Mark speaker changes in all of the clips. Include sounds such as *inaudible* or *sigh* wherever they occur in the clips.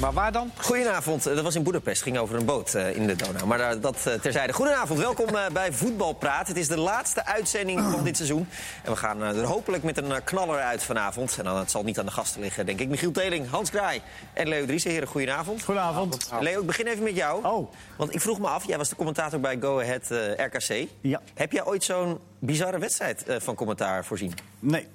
Speaker 1: Maar waar dan?
Speaker 2: Goedenavond, eh, dat was in Boedapest. ging over een boot eh, in de Donau. Maar daar, dat eh, terzijde. Goedenavond, welkom eh, bij Voetbalpraat. Het is de laatste uitzending van dit seizoen. En we gaan eh, er hopelijk met een eh, knaller uit vanavond. En dan, het zal niet aan de gasten liggen, denk ik. Michiel Teling, Hans Kraai en Leo Driessen. Heren, goedenavond.
Speaker 1: Goedenavond.
Speaker 2: Leo, ik begin even met jou.
Speaker 1: Oh.
Speaker 2: Want ik vroeg me af, jij was de commentator bij Go Ahead eh, RKC.
Speaker 1: Ja.
Speaker 2: Heb jij ooit zo'n bizarre wedstrijd eh, van commentaar voorzien?
Speaker 1: Nee.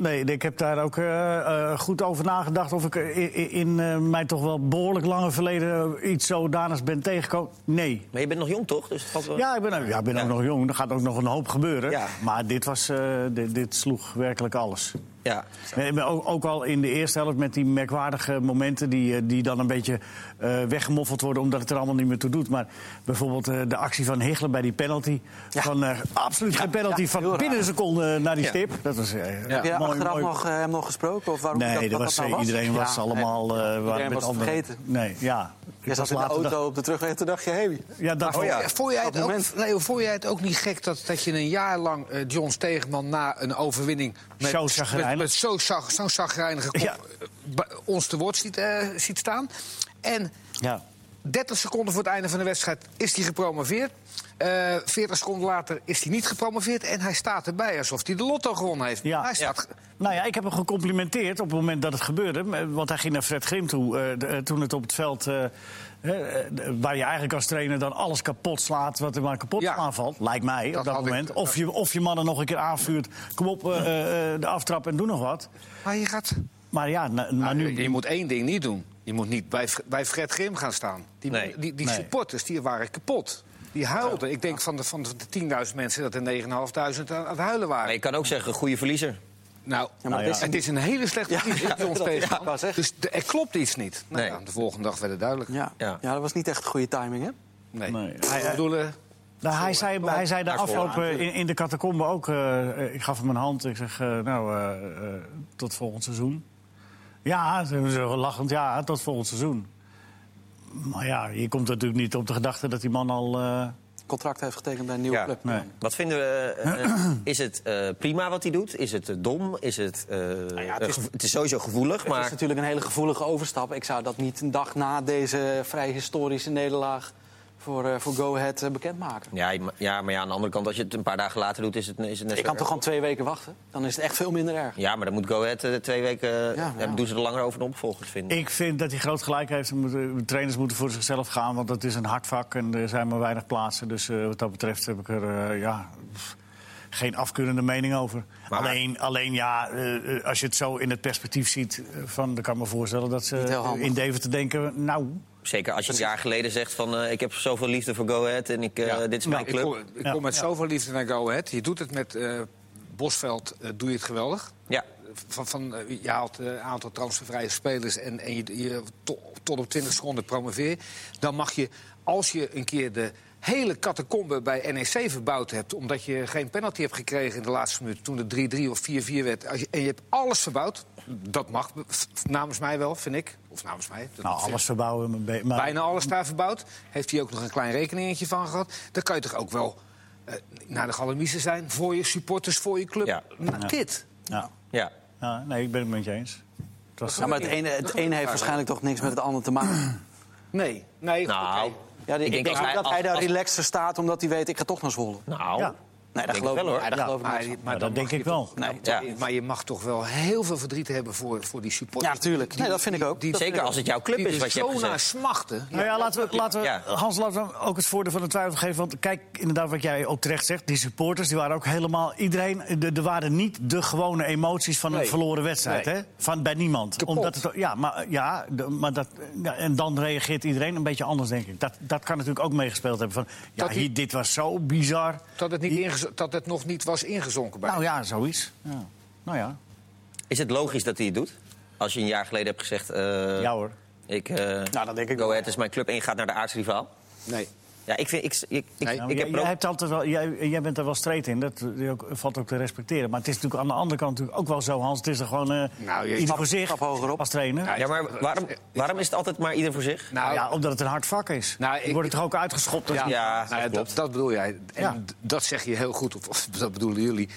Speaker 1: Nee, ik heb daar ook eh, eh, goed over nagedacht of ik eh, i- i- in eh, mijn toch wel behoorlijk lange verleden iets zodanigs ben tegengekomen. Nee.
Speaker 2: Maar je bent nog jong, toch? Dus het valt wel-
Speaker 1: Ja, ik ben, ook- ja, ik ben
Speaker 2: Ja.
Speaker 1: ook nog jong. Er gaat ook nog een hoop gebeuren.
Speaker 2: Ja.
Speaker 1: Maar dit, was, eh, dit, dit sloeg werkelijk alles.
Speaker 2: ja.
Speaker 1: Nee, maar ook, ook al in de eerste helft met die merkwaardige momenten die, eh, die dan een beetje eh, weggemoffeld worden omdat het er allemaal niet meer toe doet. Maar bijvoorbeeld eh, de actie van Hichler bij die penalty. Van eh, absoluut geen penalty van
Speaker 3: heel raar.
Speaker 1: binnen een seconde eh, naar die
Speaker 2: Ja.
Speaker 1: stip. Dat was eh,
Speaker 3: Heb je daar
Speaker 1: mooi,
Speaker 3: achteraf
Speaker 1: mooi.
Speaker 3: nog eh, hem nog gesproken? Of waarom
Speaker 1: Nee,
Speaker 3: dat,
Speaker 1: dat
Speaker 3: wat
Speaker 1: was,
Speaker 3: nou
Speaker 1: eh, iedereen was
Speaker 3: Ja,
Speaker 1: allemaal... eh, waren
Speaker 3: Iedereen was het
Speaker 1: anderen.
Speaker 3: vergeten.
Speaker 1: Nee, ja.
Speaker 3: Je
Speaker 1: Ik
Speaker 3: zat
Speaker 1: was
Speaker 3: in de
Speaker 1: later
Speaker 3: auto
Speaker 1: dag-
Speaker 3: op de terugweg en toen dacht je, hey.
Speaker 1: Ja, dat
Speaker 2: Oh, ja.
Speaker 4: Vond jij,
Speaker 3: Dat
Speaker 4: het ook,
Speaker 3: moment.
Speaker 4: Leo, vond jij het ook niet gek dat, dat je een jaar lang eh, John Stegeman na een overwinning... met
Speaker 1: Zo chagrijnig.
Speaker 4: met- met zo'n zag- zo'n chagrijnige kop
Speaker 1: Ja.
Speaker 4: eh, bij ons te woord ziet, eh, ziet staan? En
Speaker 1: Ja.
Speaker 4: 30 seconden voor het einde van de wedstrijd is hij gepromoveerd. Eh 40 seconden later is hij niet gepromoveerd. En hij staat erbij alsof hij de lotto gewonnen heeft.
Speaker 1: Ja.
Speaker 4: Hij staat...
Speaker 1: Nou ja, ik heb hem gecomplimenteerd op het moment dat het gebeurde. eh, Want hij ging naar Fred Grim toe. eh, de- eh, toen het op het veld. eh, eh, de- waar je eigenlijk als trainer dan alles kapot slaat. wat er maar kapot
Speaker 4: Ja.
Speaker 1: aanvalt. Lijkt mij op
Speaker 4: Dat
Speaker 1: dat
Speaker 4: had ik-
Speaker 1: moment. of, je, of je mannen nog een keer aanvuurt. Kom op, eh, eh, eh, de aftrap en doe nog wat.
Speaker 4: Maar je gaat...
Speaker 1: Maar ja, na- maar nu.
Speaker 4: Je moet één ding niet doen. Je moet niet bij, Fre- bij Fred Grim gaan staan. Die,
Speaker 2: Nee.
Speaker 4: die, die
Speaker 1: Nee.
Speaker 4: supporters die waren kapot. Die huilden. Ik denk van de, van de 10.000 mensen dat er 9.500 aan, aan het huilen waren.
Speaker 2: Maar je kan ook zeggen, goede verliezer.
Speaker 4: Nou,
Speaker 1: Nou
Speaker 4: het,
Speaker 1: ja.
Speaker 4: is, het is een hele slechte
Speaker 3: Ja,
Speaker 4: ja,
Speaker 3: ja, dat- ja, ik wou zeggen.
Speaker 4: Dus de- er klopt iets niet. Nou
Speaker 2: Nee.
Speaker 4: ja, de volgende dag werd het duidelijk.
Speaker 3: Ja.
Speaker 2: Ja.
Speaker 3: Ja. dat was niet echt goede timing, hè?
Speaker 4: Nee.
Speaker 1: Nee.
Speaker 4: Hij, ik bedoel, eh,
Speaker 1: Nou, hij, zei, hij zei de afloop eh, in, in de catacombe ook. eh, eh, ik gaf hem een hand. Ik zeg, eh, nou, eh, eh, tot volgend seizoen. Ja, ze- ze lachend, ja, tot volgend seizoen. Maar ja, je komt natuurlijk niet op de gedachte dat die man al... eh,
Speaker 3: Contract heeft getekend bij een nieuwe
Speaker 2: Ja.
Speaker 3: club.
Speaker 1: nee.
Speaker 2: Wat vinden we? eh, eh, is het eh, prima wat hij doet? Is het eh, dom? Is het, eh,
Speaker 3: Nou het is-
Speaker 2: eh, gevo- het is sowieso gevoelig,
Speaker 3: Het
Speaker 2: maar
Speaker 3: Dus is natuurlijk een hele gevoelige overstap. Ik zou dat niet een dag na deze vrij historische nederlaag voor, eh, voor Go Ahead eh, bekendmaken.
Speaker 2: ja, je- ja, maar ja, aan de andere kant, als je het een paar dagen later doet, is het, is het net zo
Speaker 3: Ik kan
Speaker 2: erg.
Speaker 3: toch gewoon twee weken wachten? Dan is het echt veel minder erg.
Speaker 2: Ja, maar dan moet Go Ahead eh, twee weken... eh,
Speaker 3: Ja,
Speaker 2: dan
Speaker 3: ja.
Speaker 2: doen ze er langer over de opvolgers, vinden.
Speaker 1: Ik vind dat hij groot gelijk heeft. Ze moeten- Trainers moeten voor zichzelf gaan, want dat is een hard vak en er zijn maar weinig plaatsen. Dus eh, wat dat betreft heb ik er eh, ja, pff, geen afkeurende mening over.
Speaker 2: Maar-
Speaker 1: Alleen, alleen ja, eh, eh, als je het zo in het perspectief ziet, eh, van, dan kan ik me voorstellen dat
Speaker 3: Niet heel
Speaker 1: ze
Speaker 3: handig.
Speaker 1: in Deventer denken: nou,
Speaker 2: Zeker als je een jaar geleden zegt van... eh, ik heb zoveel liefde voor Go Ahead en ik, eh,
Speaker 4: Ja.
Speaker 2: dit is
Speaker 4: Nou,
Speaker 2: mijn club.
Speaker 4: Ik kom, ik
Speaker 1: Ja.
Speaker 4: kom met zoveel liefde naar Go Ahead. Je doet het met eh, Bosveld, eh, doe je het geweldig.
Speaker 2: Ja,
Speaker 4: Van, van, eh, je haalt eh, een aantal transfervrije spelers en, en je, je to- tot op 20 seconden promoveer. Dan mag je, als je een keer de hele catacombe bij NEC verbouwd hebt... omdat je geen penalty hebt gekregen in de laatste minuut... toen het 3-3 of 4-4 werd, als je- en je hebt alles verbouwd... dat mag v- namens mij wel, vind ik. Of namens mij. dat
Speaker 1: nou
Speaker 4: vind ik.
Speaker 1: alles verbouwen. maar be- Maar,
Speaker 4: Bijna alles daar verbouwd. Heeft hij ook nog een klein rekeningetje van gehad. Dan kan je toch ook wel eh, naar de galamiezen zijn voor je supporters, voor je club.
Speaker 2: Ja.
Speaker 4: Nou, Dit.
Speaker 1: ja,
Speaker 2: ja.
Speaker 1: ja, nee, ik ben het met je eens. Het was-
Speaker 3: Ja, maar het ene, het ene heeft waarschijnlijk toch niks met het ander te maken.
Speaker 4: Nee. nee goed,
Speaker 2: Nou,
Speaker 4: oké.
Speaker 3: Ja, ik,
Speaker 2: ik denk
Speaker 3: denk
Speaker 2: als
Speaker 3: ook
Speaker 2: hij-
Speaker 3: dat
Speaker 2: als-
Speaker 3: hij daar
Speaker 2: als-
Speaker 3: relaxer staat omdat hij weet ik ga toch naar Zwolle.
Speaker 2: nou...
Speaker 1: Ja.
Speaker 3: Nee, dat
Speaker 2: denk het
Speaker 3: geloof ik
Speaker 2: wel,
Speaker 3: niet.
Speaker 2: hoor.
Speaker 3: Nee, dat
Speaker 4: Maar,
Speaker 1: Ja.
Speaker 3: geloof ik niet.
Speaker 4: maar
Speaker 1: Maar
Speaker 4: dan
Speaker 1: dat denk
Speaker 4: mag je
Speaker 1: ik wel.
Speaker 4: toch-
Speaker 3: Nee.
Speaker 2: Ja.
Speaker 4: Maar je mag toch wel heel veel verdriet hebben voor, voor die supporters.
Speaker 3: Ja, natuurlijk. Nee, dat vind ik ook. Dat
Speaker 2: Zeker
Speaker 3: vind ik
Speaker 2: als het jouw club
Speaker 4: die
Speaker 2: is,
Speaker 4: er
Speaker 2: wat je hebt
Speaker 4: zo naar
Speaker 2: gezegd.
Speaker 4: smachten.
Speaker 1: Nou ja, laten we, laten we,
Speaker 2: Ja.
Speaker 1: Hans, laten we hem ook het voordeel van de twijfel geven. Want kijk, inderdaad, wat jij ook terecht zegt. Die supporters, die waren ook helemaal... Iedereen, de- er waren niet de gewone emoties van een
Speaker 4: Nee.
Speaker 1: verloren wedstrijd.
Speaker 4: Nee.
Speaker 1: Hè? Van, bij niemand.
Speaker 4: Kapot.
Speaker 1: Omdat het, ja, maar, ja, de- maar dat, ja, en dan reageert iedereen een beetje anders, denk ik. Dat, dat kan natuurlijk ook meegespeeld hebben. Van, ja,
Speaker 4: Dat die-
Speaker 1: hier, dit was zo bizar.
Speaker 4: Dat het, niet ingezo- dat het nog niet was ingezonken bij
Speaker 1: Nou ja, zoiets. Ja. Nou ja,
Speaker 2: Is het logisch dat hij het doet? Als je een jaar geleden hebt gezegd... eh,
Speaker 1: ja hoor.
Speaker 2: Ik, eh
Speaker 3: Nou, dat denk ik
Speaker 2: Go
Speaker 3: wel.
Speaker 2: Ahead is mijn club en je gaat naar de aardsrivaal.
Speaker 4: Nee.
Speaker 2: Ja, ik, vind, ik, ik, ik,
Speaker 4: Nee.
Speaker 2: ik
Speaker 1: Nou,
Speaker 2: heb
Speaker 1: jij,
Speaker 2: er ook-
Speaker 1: jij hebt altijd wel, jij, jij bent er wel streed in, dat eh, ook- valt ook te respecteren. Maar het is natuurlijk aan de andere kant natuurlijk ook wel zo, Hans. Het is er gewoon eh
Speaker 4: Nou, je-
Speaker 1: ieder
Speaker 4: stap-
Speaker 1: voor zich
Speaker 3: stap hoger op.
Speaker 1: als trainer.
Speaker 4: Ja,
Speaker 1: Nou,
Speaker 2: Ja, maar waarom, waarom is het altijd maar ieder voor zich?
Speaker 1: ja, omdat het een hard vak is.
Speaker 4: Nou,
Speaker 1: je
Speaker 4: ik-
Speaker 1: wordt er toch ook uitgeschopt. als-
Speaker 4: Ja,
Speaker 2: Ja,
Speaker 4: nou ja,
Speaker 2: dat klopt.
Speaker 4: dat, dat bedoel jij. En
Speaker 1: Ja.
Speaker 4: d- dat zeg je heel goed, of, of dat bedoelen jullie.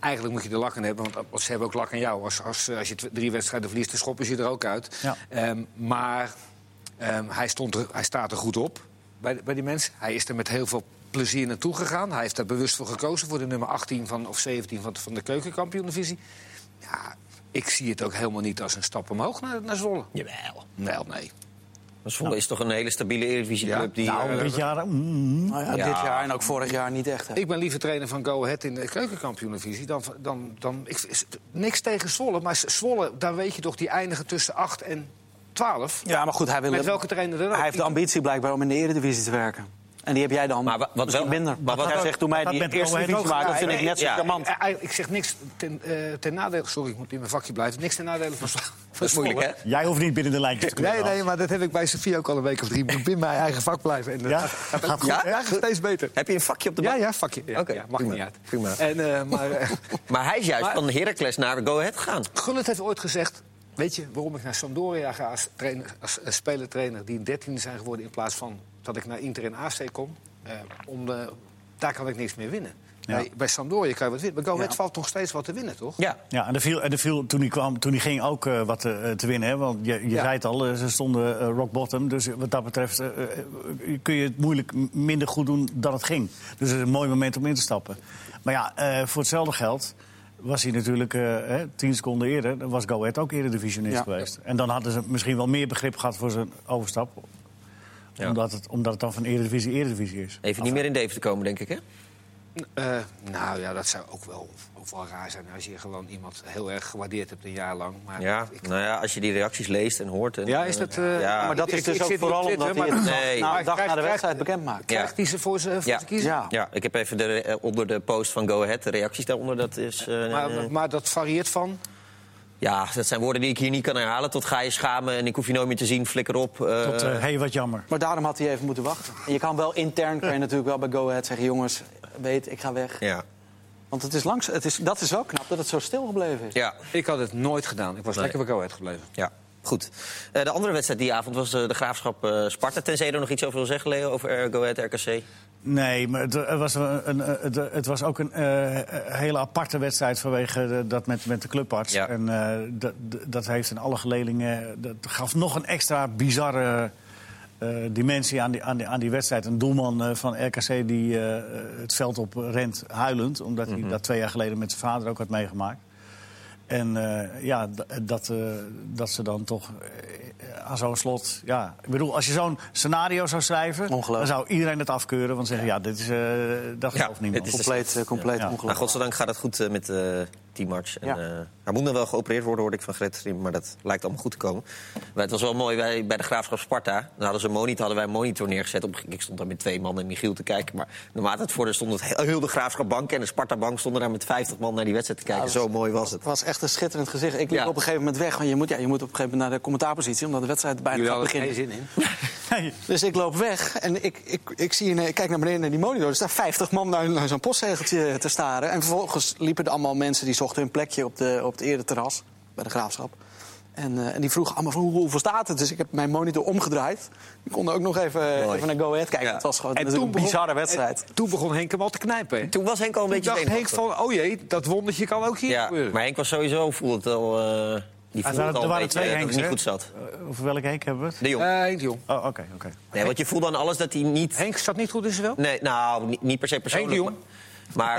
Speaker 4: Eigenlijk moet je er lak aan hebben, want ze hebben ook lak aan jou. Als, als, eh, als je tw- drie wedstrijden verliest, dan schoppen ze je er ook uit.
Speaker 1: Ja.
Speaker 4: Ehm, maar ehm, hij, stond er, hij staat er goed op bij, de- bij die mensen. Hij is er met heel veel plezier naartoe gegaan. Hij heeft daar bewust voor gekozen, voor de nummer 18 van, of 17 van, van de keukenkampioen-divisie. Ja, ik zie het ook helemaal niet als een stap omhoog naar, naar Zwolle.
Speaker 2: Jawel.
Speaker 4: Wel, nee.
Speaker 2: Zwolle is toch een hele stabiele Eredivisie-club die...
Speaker 1: Nou,
Speaker 2: eh,
Speaker 1: dit jaar... mm,
Speaker 3: Nou ja,
Speaker 2: Ja.
Speaker 3: Dit jaar en ook vorig jaar niet echt. hè.
Speaker 4: Ik ben liever trainer van Go Ahead in de keukenkampioenvisie dan, dan, dan ik, is- niks tegen Zwolle. Maar Zwolle, daar weet je toch, die eindigen tussen 8 en 12.
Speaker 3: Ja, maar goed, hij wil...
Speaker 4: Met welke trainer dan ook.
Speaker 3: Hij heeft de ambitie blijkbaar om in de eredivisie te werken. En die heb jij dan
Speaker 2: Maar wa- wat
Speaker 3: misschien
Speaker 2: wel-
Speaker 3: minder.
Speaker 2: maar wat
Speaker 3: Maar wat hij
Speaker 2: wel-
Speaker 3: zegt, toen mij
Speaker 1: dat
Speaker 3: die
Speaker 1: bent
Speaker 3: eerste
Speaker 1: Owen
Speaker 3: divisie
Speaker 1: ook.
Speaker 3: maken, dat
Speaker 2: Ja,
Speaker 3: vind ik
Speaker 2: nee,
Speaker 3: net zo
Speaker 2: ja.
Speaker 3: charmant.
Speaker 4: Eh, eh, ik zeg niks ten, eh, ten nadele. Sorry, ik moet in mijn vakje blijven. Niks ten nadele van Zwolle.
Speaker 2: dat is moeilijk, hè?
Speaker 1: Jij hoeft niet binnen de lijntjes te komen.
Speaker 5: Nee, nee, maar dat heb ik bij Sofie ook al een week of drie. Ik moet binnen mijn eigen vak blijven. En dat
Speaker 1: Ja?
Speaker 5: gaat, gaat ook
Speaker 1: Gaat
Speaker 5: goed.
Speaker 2: goed,
Speaker 5: Ja,
Speaker 2: hè?
Speaker 5: gaat steeds beter.
Speaker 2: Heb je een vakje op de
Speaker 5: Ja,
Speaker 2: bank?
Speaker 5: ja, vakje. Ja,
Speaker 2: Oké,
Speaker 5: ja, mag
Speaker 2: prima,
Speaker 5: niet uit.
Speaker 2: prima.
Speaker 5: En, eh, maar, eh,
Speaker 2: Maar hij is juist van Heracles naar Go Ahead gegaan.
Speaker 4: Gullit heeft ooit gezegd... Weet je waarom ik naar Sampdoria ga als, trainer, als eh, spelertrainer die 13 zijn geworden... in plaats van dat ik naar Inter en AC kom? Eh, om de, daar kan ik niks meer winnen.
Speaker 1: Ja.
Speaker 4: Bij, bij Sampdoria kan je wat winnen. Bij Go Ahead valt nog steeds wat te winnen, toch?
Speaker 2: Ja.
Speaker 1: Ja, en er viel, en er viel, toen, hij kwam, toen hij ging ook eh, wat eh, te winnen. Hè? Want je, je
Speaker 4: Ja.
Speaker 1: zei het al, eh, ze stonden eh, rock bottom. Dus wat dat betreft eh, eh, kun je het moeilijk m- minder goed doen dan het ging. Dus het is een mooi moment om in te stappen. Maar ja, eh, voor hetzelfde geld was hij natuurlijk eh, hè, tien seconden eerder... dan was Go Ahead ook eerder divisionist
Speaker 3: Ja.
Speaker 1: geweest. En dan hadden ze misschien wel meer begrip gehad voor zijn overstap.
Speaker 2: Ja. Eh,
Speaker 1: Omdat, het, omdat het dan van eredivisie eredivisie is.
Speaker 2: Even niet meer in Deventer komen, denk ik, hè?
Speaker 4: Eh, nou ja, dat zou ook wel, ook wel raar zijn als je gewoon iemand heel erg gewaardeerd hebt een jaar lang. Maar
Speaker 2: Ja, nou ja, als je die reacties leest en hoort... En,
Speaker 4: Ja, is dat, eh,
Speaker 2: ja.
Speaker 3: Maar dat is
Speaker 4: Ik-
Speaker 3: dus
Speaker 4: ik
Speaker 3: ook
Speaker 4: zit
Speaker 3: vooral
Speaker 4: niet op
Speaker 3: omdat hij
Speaker 4: Twitter,
Speaker 3: het
Speaker 2: maar- Nee.
Speaker 3: na, een
Speaker 4: Krijgt-
Speaker 3: dag na Nou, de
Speaker 4: krijgt-
Speaker 3: wedstrijd bekend maakt.
Speaker 4: krijgt hij ze voor zijn
Speaker 2: Ja.
Speaker 4: ja. kiezen?
Speaker 3: Ja.
Speaker 2: Ja, ik heb even de, re- eh, onder de post van Go Ahead de reacties daaronder. Dat is, eh, eh,
Speaker 4: Maar, maar dat varieert van.
Speaker 2: ja, dat zijn woorden die ik hier niet kan herhalen. Tot ga je schamen en ik hoef je nooit meer te zien, flikker op. eh,
Speaker 1: Tot, eh, hey, wat jammer.
Speaker 3: Maar daarom had hij even moeten wachten. En je kan wel intern kan je natuurlijk wel bij Go Ahead zeggen... jongens, weet, ik ga weg.
Speaker 2: ja.
Speaker 3: Want het is langs, het is, dat is wel knap dat het zo stil gebleven is.
Speaker 2: ja,
Speaker 4: Ik had het nooit gedaan. Ik was
Speaker 2: Nee.
Speaker 4: lekker bij Go Ahead gebleven.
Speaker 2: ja, goed. Eh, de andere wedstrijd die avond was eh, de Graafschap eh, Sparta. Tenzij je er nog iets over wil zeggen, Leo, over eh, Go Ahead RKC.
Speaker 1: Nee, maar het, eh, was, een, een, eh, het, het was ook een eh, hele aparte wedstrijd vanwege de- dat met, met de clubarts.
Speaker 2: Ja.
Speaker 1: En eh, dat, dat heeft in alle geledingen. Dat gaf nog een extra bizarre eh, dimensie aan die, aan, die, aan die wedstrijd. Een doelman eh, van RKC die eh, het veld op rent huilend, omdat hij dat twee jaar geleden met zijn vader ook had meegemaakt. En eh, ja, d- dat, eh, dat ze dan toch eh, aan zo'n slot. Ja. Ik bedoel, als je zo'n scenario zou schrijven,
Speaker 3: Ongelooflijk.
Speaker 1: dan zou iedereen het afkeuren. Want zeggen, ja, dit is, eh, dat gelooft niemand.
Speaker 2: het is-
Speaker 3: Compleet, eh, compleet
Speaker 1: Ja.
Speaker 2: Maar
Speaker 3: ongelooflijk.
Speaker 2: godzijdank gaat het goed eh, met eh die match. En,
Speaker 3: Ja.
Speaker 2: eh, hij moet nog wel geopereerd worden, hoorde ik van Gret Riem, Maar dat lijkt allemaal goed te komen. Maar het was wel mooi wij, bij de Graafschap Sparta. Dan hadden, ze een monitor, hadden wij een monitor neergezet. Op, ik stond daar met twee man en Michiel te kijken. Maar naarmate het voordeel stond, het heel, heel de Graafschap Bank en de Sparta Bank stonden daar met 50 man naar die wedstrijd te kijken.
Speaker 3: Ja,
Speaker 2: Zo mooi was het.
Speaker 3: Het was echt een schitterend gezicht. Ik liep
Speaker 2: Ja.
Speaker 3: op een gegeven moment weg, want je moet, ja, je moet op een gegeven moment naar de commentaarpositie... omdat de wedstrijd bijna gaat beginnen.
Speaker 4: geen zin in.
Speaker 1: Nee,
Speaker 3: Dus ik loop weg en ik, ik, ik, zie, een- ik kijk naar beneden naar die monitor. Er staan 50 man naar, naar zo'n postzegeltje te staren. En vervolgens liepen er allemaal mensen die zochten hun plekje op, de, op het ereterras bij de graafschap. En, eh, en die vroegen allemaal hoe, hoeveel staat het? Dus ik heb mijn monitor omgedraaid. Die konden ook nog even, eh,
Speaker 2: Mooi.
Speaker 3: even naar Go Ahead kijken.
Speaker 2: Ja.
Speaker 3: Het was gewoon natuurlijk een
Speaker 4: begon-
Speaker 3: bizarre wedstrijd.
Speaker 4: en toen begon Henk hem al te knijpen. hè?
Speaker 2: Toen was Henk al een
Speaker 4: Toen
Speaker 2: beetje
Speaker 4: dacht Henk
Speaker 2: zenuwachtig.
Speaker 4: van, oh jee, dat wondertje kan ook hier
Speaker 2: Ja,
Speaker 4: gebeuren.
Speaker 2: maar Henk was sowieso, voelde het al...
Speaker 4: Ah,
Speaker 2: eh, die voelde het al
Speaker 1: waren- er
Speaker 2: een
Speaker 1: waren
Speaker 2: beetje,
Speaker 1: twee
Speaker 2: eh, dat
Speaker 1: Henks,
Speaker 2: het niet
Speaker 1: hè?
Speaker 2: goed zat.
Speaker 1: eh, over welke hek hebben we het?
Speaker 2: De jong.
Speaker 4: Eh, Henk de Jong.
Speaker 1: Oh, oké, oké.
Speaker 2: Nee, want je voelde aan alles dat hij niet...
Speaker 4: Henk zat niet goed in zijn wel?
Speaker 2: Nee, nou, niet, niet per se persoonlijk.
Speaker 4: Henk de Jong.
Speaker 2: Maar,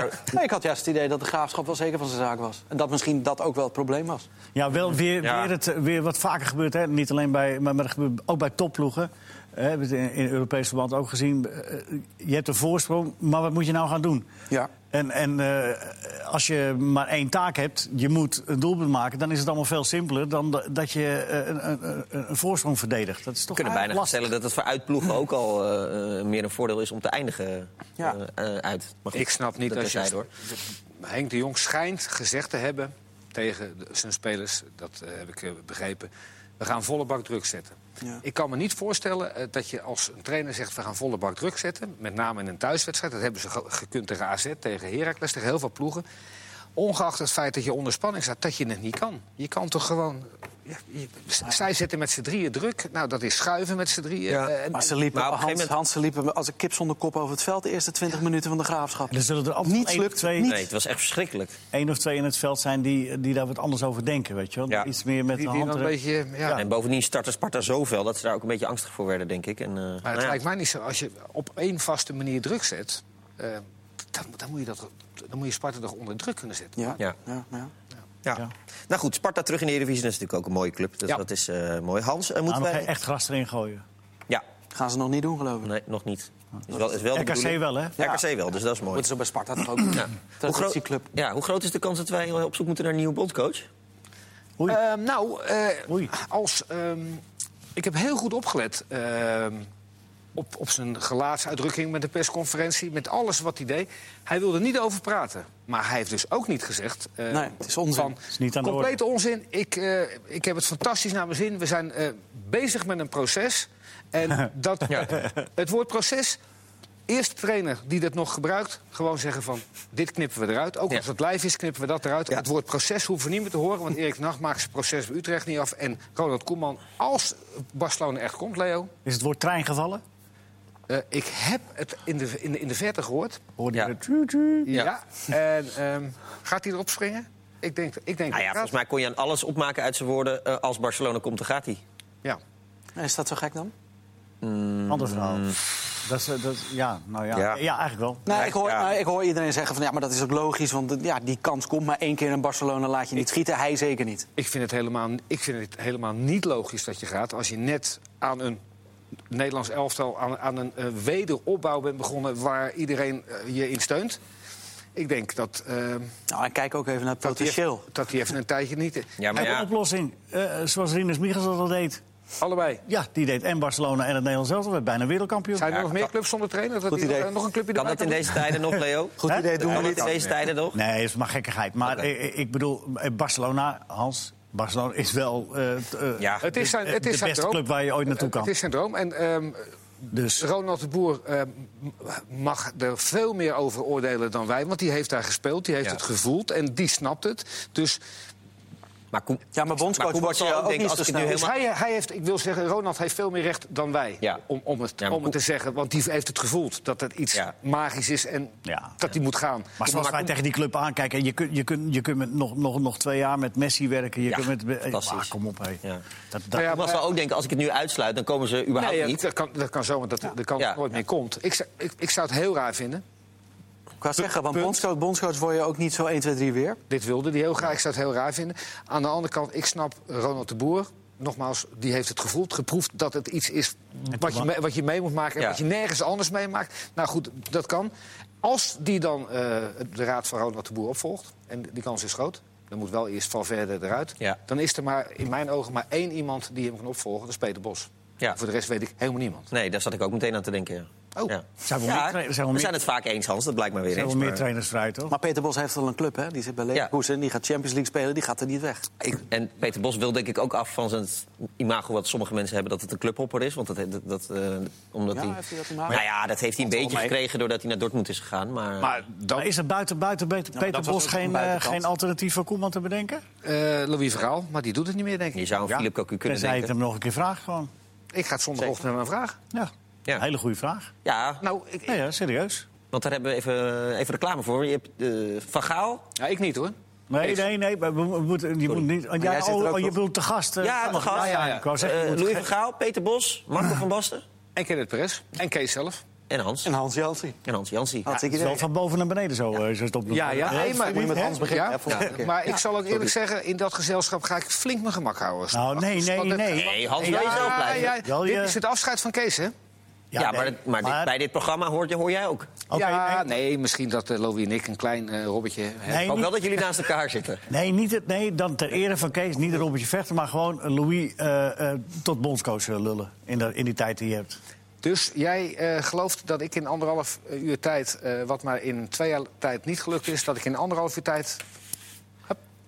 Speaker 4: *laughs*
Speaker 2: maar
Speaker 3: Nee, ik had juist het idee dat de graafschap wel zeker van zijn zaak was. En dat misschien dat ook wel het probleem was.
Speaker 1: Ja, wel weer,
Speaker 2: Ja.
Speaker 1: Weer, het, eh, weer wat vaker gebeurt. Hè? Niet alleen bij, maar, maar dat gebeurt ook bij topploegen. Eh, We hebben het in, in Europees verband ook gezien. Eh, Je hebt een voorsprong, maar wat moet je nou gaan doen?
Speaker 3: Ja.
Speaker 1: En, en eh, als je maar één taak hebt, je moet een doelpunt maken... dan is het allemaal veel simpeler dan da- dat je eh, een, een, een- een voorsprong verdedigt. Dat is toch
Speaker 2: We kunnen bijna
Speaker 1: eigenlijk
Speaker 2: stellen dat het voor uitploegen ook al eh, eh, meer een voordeel is om te eindigen
Speaker 3: Ja.
Speaker 2: eh, eh, uit. Maar goed,
Speaker 4: Ik snap niet
Speaker 2: dat
Speaker 4: als je...
Speaker 2: terzijde, hoor.
Speaker 4: Henk de Jong schijnt gezegd te hebben tegen de- zijn spelers... dat eh, heb ik eh, begrepen... we gaan volle bak druk zetten.
Speaker 3: Ja.
Speaker 4: Ik kan me niet voorstellen eh, dat je als een trainer zegt... we gaan volle bak druk zetten, met name in een thuiswedstrijd. Dat hebben ze ge- gekund tegen AZ, tegen Heracles, tegen heel veel ploegen. Ongeacht het feit dat je onder spanning staat, dat je het niet kan. Je kan toch gewoon... ja, je- z- zij zetten met z'n drieën druk. Nou, dat is schuiven met z'n drieën.
Speaker 3: Ja,
Speaker 4: Eh, en-
Speaker 3: maar ze liepen,
Speaker 2: maar op een
Speaker 3: Hans,
Speaker 2: gegeven
Speaker 3: Hansen liepen als een kip zonder kop over het veld de eerste 20 minuten van de graafschap.
Speaker 1: Er zullen er altijd
Speaker 3: Niets
Speaker 1: één of
Speaker 3: lukt,
Speaker 1: twee,
Speaker 3: niets.
Speaker 2: Nee, het was echt verschrikkelijk.
Speaker 1: één of twee in het veld zijn die, die daar wat anders over denken, weet je wel.
Speaker 2: Ja.
Speaker 1: Iets meer met
Speaker 4: die,
Speaker 1: de
Speaker 4: die dan
Speaker 1: hand.
Speaker 4: een
Speaker 1: erop.
Speaker 4: beetje... Ja.
Speaker 2: En bovendien startte Sparta zoveel dat ze daar ook een beetje angstig voor werden, denk ik. En, eh,
Speaker 4: Maar
Speaker 2: nou
Speaker 4: het
Speaker 2: ja.
Speaker 4: lijkt mij niet zo. Als je op één vaste manier druk zet, eh, dan, dan, moet je dat, dan moet je Sparta toch onder druk kunnen zetten.
Speaker 3: Ja,
Speaker 2: Ja.
Speaker 3: ja. ja,
Speaker 2: Ja.
Speaker 1: Ja.
Speaker 2: Nou goed, Sparta terug in de Eredivisie dat is natuurlijk ook een mooie club. Dus
Speaker 4: Ja. Ah,
Speaker 2: dat is eh, mooi. Hans, eh,
Speaker 1: Nou,
Speaker 2: moeten
Speaker 1: nog
Speaker 2: wij...
Speaker 1: echt gras erin gooien.
Speaker 2: Ja,
Speaker 3: Gaan ze nog niet doen, geloof ik.
Speaker 2: nee, nog niet. Is wel, is wel de
Speaker 1: RKC
Speaker 2: bedoeling.
Speaker 1: wel, hè?
Speaker 3: Ja.
Speaker 2: RKC wel, dus dat is mooi.
Speaker 3: Moeten ze bij Sparta *clears throat* toch ook doen?
Speaker 2: Ja.
Speaker 3: Traditieclub.
Speaker 2: ja, hoe groot is de kans dat wij eh, op zoek moeten naar een nieuwe bondcoach? Nou
Speaker 1: Oei.
Speaker 4: Ehm, nou, eh,
Speaker 1: Oei.
Speaker 4: als. ehm, ik heb heel goed opgelet. ehm, op, op zijn gelaatsuitdrukking met de persconferentie, met alles wat hij deed. Hij wilde niet over praten. Maar hij heeft dus ook niet gezegd. eh,
Speaker 3: Nee, het is onzin.
Speaker 4: Van,
Speaker 1: is niet aan de
Speaker 4: complete onzin. Ik, eh, ik heb het fantastisch naar mijn zin. We zijn eh, bezig met een proces.
Speaker 1: *laughs*
Speaker 4: En dat, het woord proces. Eerste trainer die dat nog gebruikt, gewoon zeggen van... dit knippen we eruit. Ook
Speaker 2: Ja.
Speaker 4: als het lijf is, knippen we dat eruit. Het woord proces hoeven we niet meer te horen... want Erik Nacht maakt zijn proces bij Utrecht niet af. En Ronald Koeman, als Barcelona echt komt, Leo...
Speaker 1: Is het woord trein gevallen?
Speaker 4: eh, ik heb het in de, in de, in de verte gehoord.
Speaker 1: Hoorde
Speaker 2: Ja.
Speaker 1: je het? Tju, tju.
Speaker 4: Ja.
Speaker 2: Ja.
Speaker 4: En ehm, gaat hij erop springen? Ik denk, ik denk
Speaker 2: Nou ja,
Speaker 4: dat
Speaker 2: volgens
Speaker 4: gaat.
Speaker 2: mij kon je aan alles opmaken uit zijn woorden. eh, als Barcelona komt, dan gaat hij.
Speaker 4: Ja.
Speaker 3: En Is dat zo gek dan?
Speaker 1: Ander verhaal. Dat is, eh, dat, ja, nou ja.
Speaker 2: Mm. Ja.
Speaker 1: ja. eigenlijk wel.
Speaker 3: Nee,
Speaker 2: Nee,
Speaker 3: ik hoor,
Speaker 2: ja.
Speaker 3: nee, ik hoor iedereen zeggen van ja, maar dat is ook logisch. Want eh, ja, die kans komt maar één keer in Barcelona laat je niet schieten. Hij zeker niet.
Speaker 4: Ik vind, het helemaal, ik vind het helemaal niet logisch dat je gaat als je net aan een Nederlands elftal, aan, aan een eh, wederopbouw bent begonnen waar iedereen eh, je in steunt. Ik denk dat, eh,
Speaker 3: Nou, en kijk ook even naar het
Speaker 4: dat, die, even,
Speaker 3: potentieel.
Speaker 4: dat die even een tijdje niet.
Speaker 2: Ja, maar
Speaker 1: Heb een
Speaker 2: ja,
Speaker 1: oplossing. Eh, zoals Rinus Michels dat al deed.
Speaker 4: Allebei.
Speaker 1: Ja, die deed en Barcelona en het Nederlands zelf. werd bijna wereldkampioen.
Speaker 4: Zijn er
Speaker 2: Ja,
Speaker 4: nog meer clubs zonder trainer? Dat
Speaker 3: Goed
Speaker 4: die nog-
Speaker 3: idee.
Speaker 4: eh, nog een clubje
Speaker 2: kan
Speaker 4: erbij
Speaker 2: dat in
Speaker 4: kan
Speaker 2: deze tijden nog, Leo?
Speaker 3: Goed
Speaker 1: Hè?
Speaker 3: idee, doen we
Speaker 2: Kan dat
Speaker 3: niet.
Speaker 2: in deze tijden nog?
Speaker 1: Nee, dat is maar gekkigheid. Maar eh, eh, ik bedoel, eh, Barcelona, Hans, Barcelona is wel eh, t- eh,
Speaker 2: Ja.
Speaker 4: Het is zijn,
Speaker 1: de-
Speaker 4: het is
Speaker 1: de
Speaker 4: zijn
Speaker 1: beste
Speaker 4: droom.
Speaker 1: club waar je ooit naartoe
Speaker 4: Het
Speaker 1: kan.
Speaker 4: is zijn droom. En ehm,
Speaker 1: Dus
Speaker 4: Ronald de Boer ehm, mag er veel meer over oordelen dan wij. Want die heeft daar gespeeld, die heeft
Speaker 2: Ja.
Speaker 4: het gevoeld en die snapt het. Dus
Speaker 2: Maar Koem-
Speaker 3: Ja, maar bondscoach
Speaker 2: Koeman
Speaker 3: wordt
Speaker 2: zal
Speaker 3: je ook
Speaker 2: denken,
Speaker 3: niet
Speaker 2: als ik
Speaker 3: zo
Speaker 2: het nu
Speaker 3: snel.
Speaker 4: Dus
Speaker 2: helemaal-
Speaker 4: hij, hij heeft, ik wil zeggen, Ronald heeft veel meer recht dan wij.
Speaker 2: Ja.
Speaker 4: Om, om het,
Speaker 2: Ja, maar
Speaker 4: om het te
Speaker 2: hoe-
Speaker 4: zeggen. Want die heeft het gevoeld dat het iets
Speaker 2: Ja.
Speaker 4: magisch is en
Speaker 1: Ja.
Speaker 4: dat die moet gaan.
Speaker 1: Maar zoals wij tegen die club aankijken, je kunt, je kunt, je kunt met nog, nog, nog twee jaar met Messi werken. Je
Speaker 2: Ja,
Speaker 1: kunt met, eh,
Speaker 2: fantastisch.
Speaker 1: ah, kom op, hé.
Speaker 2: Ja.
Speaker 1: Dat, dat,
Speaker 4: Nou ja,
Speaker 2: Koeman zal ook denken, als ik het nu uitsluit, dan komen ze überhaupt
Speaker 4: Nee, ja,
Speaker 2: niet.
Speaker 4: dat, kan, dat kan zo, want dat, de kans
Speaker 2: Ja.
Speaker 4: nooit meer komt. Ik, zou- ik, ik zou het heel raar vinden.
Speaker 3: Ik wou zeggen, want
Speaker 4: Punt.
Speaker 3: bondscoach, bondscoach word je ook niet zo 1, 2, 3 weer.
Speaker 4: Dit wilde die heel graag. Ik zou het heel raar vinden. Aan de andere kant, ik snap Ronald de Boer. Nogmaals, die heeft het gevoeld, geproefd dat het iets is wat je,
Speaker 1: Koeman.
Speaker 4: mee, wat je mee moet maken en
Speaker 2: Ja.
Speaker 4: wat je nergens anders meemaakt. Nou goed, dat kan. Als die dan eh, de raad van Ronald de Boer opvolgt, en die kans is groot, dan moet wel eerst Valverde eruit.
Speaker 2: Ja.
Speaker 4: Dan is er maar in mijn ogen maar één iemand die hem kan opvolgen, dat is Peter Bos.
Speaker 2: Ja.
Speaker 4: Voor de rest weet ik helemaal niemand.
Speaker 2: Nee, daar zat ik ook meteen aan te denken. ja.
Speaker 4: Oh.
Speaker 2: ja.
Speaker 1: Zijn we
Speaker 2: Ja,
Speaker 1: meer tra- zijn we
Speaker 2: we
Speaker 1: meer-
Speaker 2: zijn het vaak eens, Hans. Dat blijkt maar weer
Speaker 1: zijn
Speaker 2: eens.
Speaker 1: wel meer
Speaker 2: maar-
Speaker 1: trainers vrij, toch?
Speaker 3: Maar Peter Bos heeft al een club, hè? Die zit bij Leverkusen, die gaat Champions League spelen, die gaat er niet weg.
Speaker 2: Ik- en Peter Bos wil denk ik ook af van zijn imago wat sommige mensen hebben dat het een clubhopper is. Want dat, dat, dat, eh, omdat
Speaker 3: Ja,
Speaker 2: hij,
Speaker 3: heeft hij dat imago?
Speaker 2: Nou ja, dat heeft hij een beetje
Speaker 3: mee.
Speaker 2: gekregen doordat hij naar Dortmund is gegaan. Maar,
Speaker 4: Maar dan
Speaker 1: Maar is er buiten, buiten Peter, Peter
Speaker 3: dat was
Speaker 1: Bos
Speaker 3: ook een
Speaker 1: geen, eh,
Speaker 3: buitenkant.
Speaker 1: geen alternatief voor Koeman te bedenken?
Speaker 4: eh Louis Verhaal, maar die doet het niet meer, denk
Speaker 2: je
Speaker 4: ik.
Speaker 2: zou een Philip Cocu kunnen
Speaker 1: Tenzij je het
Speaker 2: denken.
Speaker 1: hem nog een keer vraagt, gewoon.
Speaker 4: Ik ga het zondagochtend naar hem vragen.
Speaker 1: Ja,
Speaker 2: Ja.
Speaker 1: hele goede vraag.
Speaker 2: Ja,
Speaker 4: Nou, ik,
Speaker 1: Ja, ja, serieus.
Speaker 2: want daar hebben we even, even reclame voor. Je hebt eh, Van Gaal.
Speaker 4: ja, ik niet hoor.
Speaker 1: Nee, nee, nee. we- we- we moeten- Je moet niet. oh,
Speaker 3: jij
Speaker 1: ja,
Speaker 3: zit er
Speaker 1: oh,
Speaker 3: ook
Speaker 1: oh, je
Speaker 3: nog.
Speaker 1: bedoelt te gast. eh,
Speaker 2: Ja, de
Speaker 1: mag-
Speaker 2: gast.
Speaker 1: nou ja, ik wou zeggen, je
Speaker 2: Eh,
Speaker 1: moet
Speaker 2: Louis
Speaker 1: ge-
Speaker 2: van Gaal, Peter Bos, Marco van Basten
Speaker 4: En Kenneth Perez. En Kees zelf.
Speaker 2: en Hans.
Speaker 3: En Hans Jansen.
Speaker 2: En Hans Jansie.
Speaker 3: Had ik
Speaker 1: Het is
Speaker 3: idee.
Speaker 1: wel van boven naar beneden zo, eh, zo stop.
Speaker 4: nee, maar-
Speaker 3: Moet je met Hans beginnen?
Speaker 4: Ja?
Speaker 3: Ja, volgende
Speaker 4: Ja.
Speaker 3: keer.
Speaker 4: Maar ik zal ook eerlijk zeggen, in dat gezelschap ga ik flink mijn gemak houden.
Speaker 1: Nou, nee, nee,
Speaker 4: Want het-
Speaker 1: nee.
Speaker 2: Nee, Hans wil
Speaker 4: Ja,
Speaker 2: jezelf
Speaker 4: ja,
Speaker 2: blijven. Ja,
Speaker 4: ja.
Speaker 1: Wel
Speaker 4: Dit
Speaker 1: je-
Speaker 4: is het afscheid van Kees, hè?
Speaker 1: nee,
Speaker 2: maar, het- maar dit- bij dit programma hoor, hoor jij ook.
Speaker 1: oké,
Speaker 4: ja,
Speaker 1: nee.
Speaker 4: nee, misschien dat eh, Louis en ik een klein eh, robbetje hebben.
Speaker 1: Nee,
Speaker 2: Ook
Speaker 1: niet-
Speaker 2: wel dat jullie naast elkaar zitten.
Speaker 1: Nee, niet het, nee, dan ter ere van Kees, niet Robertje Vechter, maar gewoon Louis eh, eh, tot bondscoach eh, lullen in, dat- in die tijd die je hebt.
Speaker 4: Dus jij eh, gelooft dat ik in anderhalf eh, uur tijd, eh, wat maar in twee jaar tijd niet gelukt is, dat ik in anderhalf uur tijd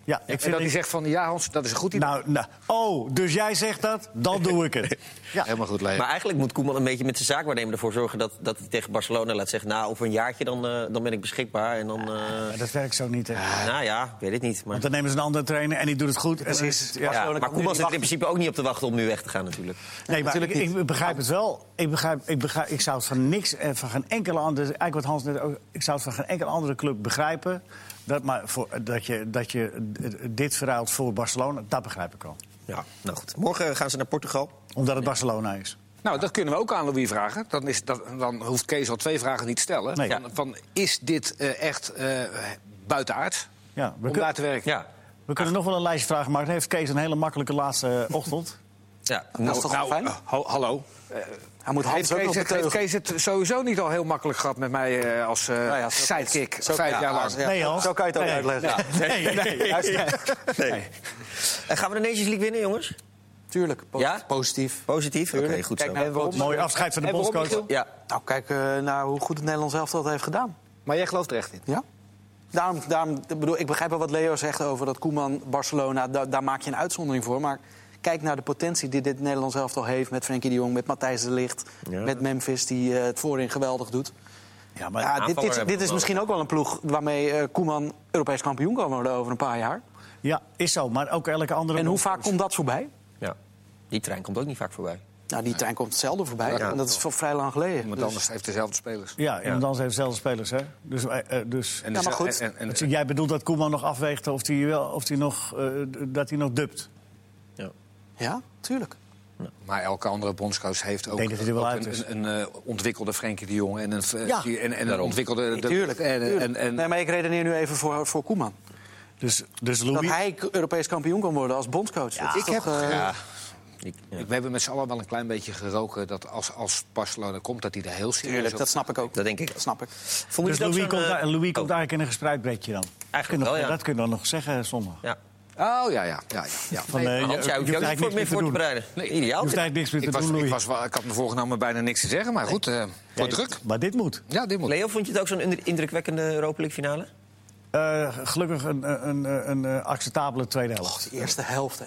Speaker 1: Ja, ik
Speaker 4: en
Speaker 1: vind
Speaker 4: dat
Speaker 1: ik-
Speaker 4: hij zegt van, ja Hans, dat is een goed idee.
Speaker 1: nou, nou, oh, dus jij zegt dat? Dan doe
Speaker 2: *laughs*
Speaker 1: ik het. Ja.
Speaker 5: Helemaal goed, Leen.
Speaker 2: Maar eigenlijk moet Koeman een beetje met zijn zaakwaarnemer ervoor zorgen... dat, dat hij tegen Barcelona laat zeggen... nou, over een jaartje dan, eh, dan ben ik beschikbaar. En dan, eh,
Speaker 1: Maar dat werkt zo niet, hè.
Speaker 2: nou ja, ik weet het niet. Maar,
Speaker 1: Want dan nemen ze een andere trainer en die doet het goed. En dan
Speaker 3: Precies.
Speaker 1: is het-
Speaker 2: ja,
Speaker 1: Barcelona
Speaker 2: maar
Speaker 1: kan nu
Speaker 2: Koeman
Speaker 1: niet
Speaker 2: zit er in
Speaker 1: wachten.
Speaker 2: principe ook niet op te wachten om nu weg te gaan natuurlijk.
Speaker 1: Nee, maar ik,
Speaker 3: natuurlijk niet.
Speaker 1: ik begrijp het wel. Ik, begrijp, ik, begrijp, ik zou het van niks, en van geen enkele andere... Eigenlijk wat Hans net ook... Ik zou het van geen enkele andere club begrijpen... Dat, maar voor, dat, je, dat je d- dit verhaalt voor Barcelona, dat begrijp ik al.
Speaker 2: Ja, nou goed. Morgen gaan ze naar Portugal.
Speaker 1: Omdat het Barcelona is.
Speaker 4: Nou, dat kunnen we ook aan Louis vragen. Dan, is, dat, dan hoeft Kees al twee vragen niet te stellen.
Speaker 1: Nee.
Speaker 4: Van, van, is dit eh, echt eh buitenaard
Speaker 1: Ja, we,
Speaker 4: om
Speaker 1: kun-
Speaker 4: daar te werken?
Speaker 2: Ja,
Speaker 1: we kunnen nog wel een lijstje vragen maken. Dan heeft Kees een hele makkelijke laatste eh, ochtend.
Speaker 2: ja.
Speaker 3: Dat Nou, is toch
Speaker 2: Nou,
Speaker 3: wel fijn?
Speaker 4: eh, ho- hallo.
Speaker 3: Hij moet Hans
Speaker 4: Heeft
Speaker 3: ook nog
Speaker 4: Kees, het, heeft
Speaker 3: beteugen.
Speaker 4: Kees het sowieso niet al heel makkelijk gehad met mij eh, als eh,
Speaker 3: Nou ja, zo-
Speaker 4: sidekick
Speaker 3: zo-
Speaker 4: vijf
Speaker 3: ja,
Speaker 4: jaar lang?
Speaker 3: ja,
Speaker 1: Nee, Hans.
Speaker 3: Zo kan je het ook
Speaker 1: Nee.
Speaker 3: uitleggen.
Speaker 2: *laughs*
Speaker 1: Nee, nee.
Speaker 2: Nee. En gaan we de Nations League winnen, jongens?
Speaker 3: Tuurlijk, po-
Speaker 2: Ja?
Speaker 3: positief.
Speaker 2: Positief? Oké, goed zo.
Speaker 3: Kijk naar waarom-
Speaker 1: Mooi afscheid van de
Speaker 4: En waarom,
Speaker 1: bondscoach.
Speaker 4: Michiel?
Speaker 2: Ja,
Speaker 3: Nou, kijk eh, naar hoe goed het Nederlands elftal dat heeft gedaan.
Speaker 4: Maar jij gelooft er echt in?
Speaker 3: Ja. Daarom, daarom, ik bedoel, ik begrijp wel wat Leo zegt over dat Koeman, Barcelona, da- daar maak je een uitzondering voor. Maar kijk naar de potentie die dit Nederlands elftal heeft met Frenkie de Jong, met Matthijs de Ligt, met Memphis, die eh, het voorin geweldig doet.
Speaker 1: Ja, maar
Speaker 3: Ja, dit,
Speaker 2: aanvaller
Speaker 3: dit,
Speaker 2: hebben
Speaker 3: dit
Speaker 2: we
Speaker 3: is misschien ook wel een ploeg waarmee eh, Koeman Europees kampioen kan worden over een paar jaar.
Speaker 1: Ja, is zo. Maar ook elke andere.
Speaker 3: En hoe vaak komt dat voorbij?
Speaker 2: ja. Die trein komt ook niet vaak voorbij.
Speaker 3: Nou, die trein komt zelden voorbij.
Speaker 4: Ja.
Speaker 3: en dat is voor vrij lang geleden.
Speaker 4: Want
Speaker 3: Dus-
Speaker 4: anders heeft dezelfde spelers.
Speaker 1: Ja, en dan heeft dezelfde spelers, hè? Dus, eh, eh, dus...
Speaker 4: En
Speaker 3: Ja, maar
Speaker 4: dezelfde-
Speaker 3: goed.
Speaker 4: en- en-
Speaker 1: Dus jij bedoelt dat Koeman nog afweegt of hij wel, of hij nog, eh, d- dat hij nog dubt?
Speaker 2: Ja.
Speaker 3: Ja, tuurlijk.
Speaker 4: Maar elke andere bondscoach heeft ook,
Speaker 1: denk dat hij er wel
Speaker 4: ook
Speaker 1: uit
Speaker 4: een,
Speaker 1: is.
Speaker 4: een, een, eh, ontwikkelde Frenkie de Jong en een, eh,
Speaker 1: Ja.
Speaker 4: die- en, en een
Speaker 2: Daarom.
Speaker 4: ontwikkelde... de-
Speaker 3: tuurlijk.
Speaker 4: en- en-
Speaker 3: tuurlijk.
Speaker 4: en- en-
Speaker 3: Nee, maar ik redeneer nu even voor, voor Koeman.
Speaker 1: Dus, dus
Speaker 3: Dat
Speaker 1: Louis...
Speaker 3: hij k- Europees kampioen kan worden als bondscoach. Dat is
Speaker 4: ik
Speaker 3: toch,
Speaker 4: heb-
Speaker 3: eh,
Speaker 4: ja.
Speaker 2: Ik- ja.
Speaker 4: We hebben met z'n allen wel een klein beetje geroken dat als, als Barcelona komt, dat hij er heel serieus
Speaker 3: Tuurlijk,
Speaker 4: op-
Speaker 3: dat snap ik ook.
Speaker 2: Dat denk ik.
Speaker 3: Dat snap ik.
Speaker 2: Vond
Speaker 1: dus
Speaker 2: je dat
Speaker 1: Louis,
Speaker 2: zo'n,
Speaker 1: komt,
Speaker 2: eh,
Speaker 1: daar- en Louis
Speaker 2: oh,
Speaker 1: komt eigenlijk in een gespreid breedje dan.
Speaker 2: Eigenlijk
Speaker 1: Kun je nog-
Speaker 2: wel, ja.
Speaker 1: Dat kunnen we nog zeggen zondag.
Speaker 2: Ja.
Speaker 4: Oh ja, ja. ja, ja, ja.
Speaker 1: Van, eh,
Speaker 2: Maar
Speaker 1: je-
Speaker 2: Hans,
Speaker 1: je
Speaker 2: jij hoeft je
Speaker 1: hoeft
Speaker 2: ook niet voor,
Speaker 1: eigenlijk
Speaker 2: meer voor
Speaker 1: niks
Speaker 2: te
Speaker 1: meer te doen.
Speaker 2: bereiden. Nee, ideaal.
Speaker 1: Je hoeft eigenlijk niks meer te
Speaker 4: Ik, was,
Speaker 1: doen,
Speaker 4: ik,
Speaker 1: Louis.
Speaker 4: was, wel- ik had me voorgenomen bijna niks te zeggen, maar goed, eh voor
Speaker 1: Nee,
Speaker 4: druk.
Speaker 1: Maar dit moet.
Speaker 4: Ja, dit moet.
Speaker 2: Leo, vond je het ook zo'n inder- indrukwekkende Europa League finale?
Speaker 1: Eh, gelukkig een, een, een, een, eh, acceptabele tweede helft.
Speaker 3: De eerste helft, hé.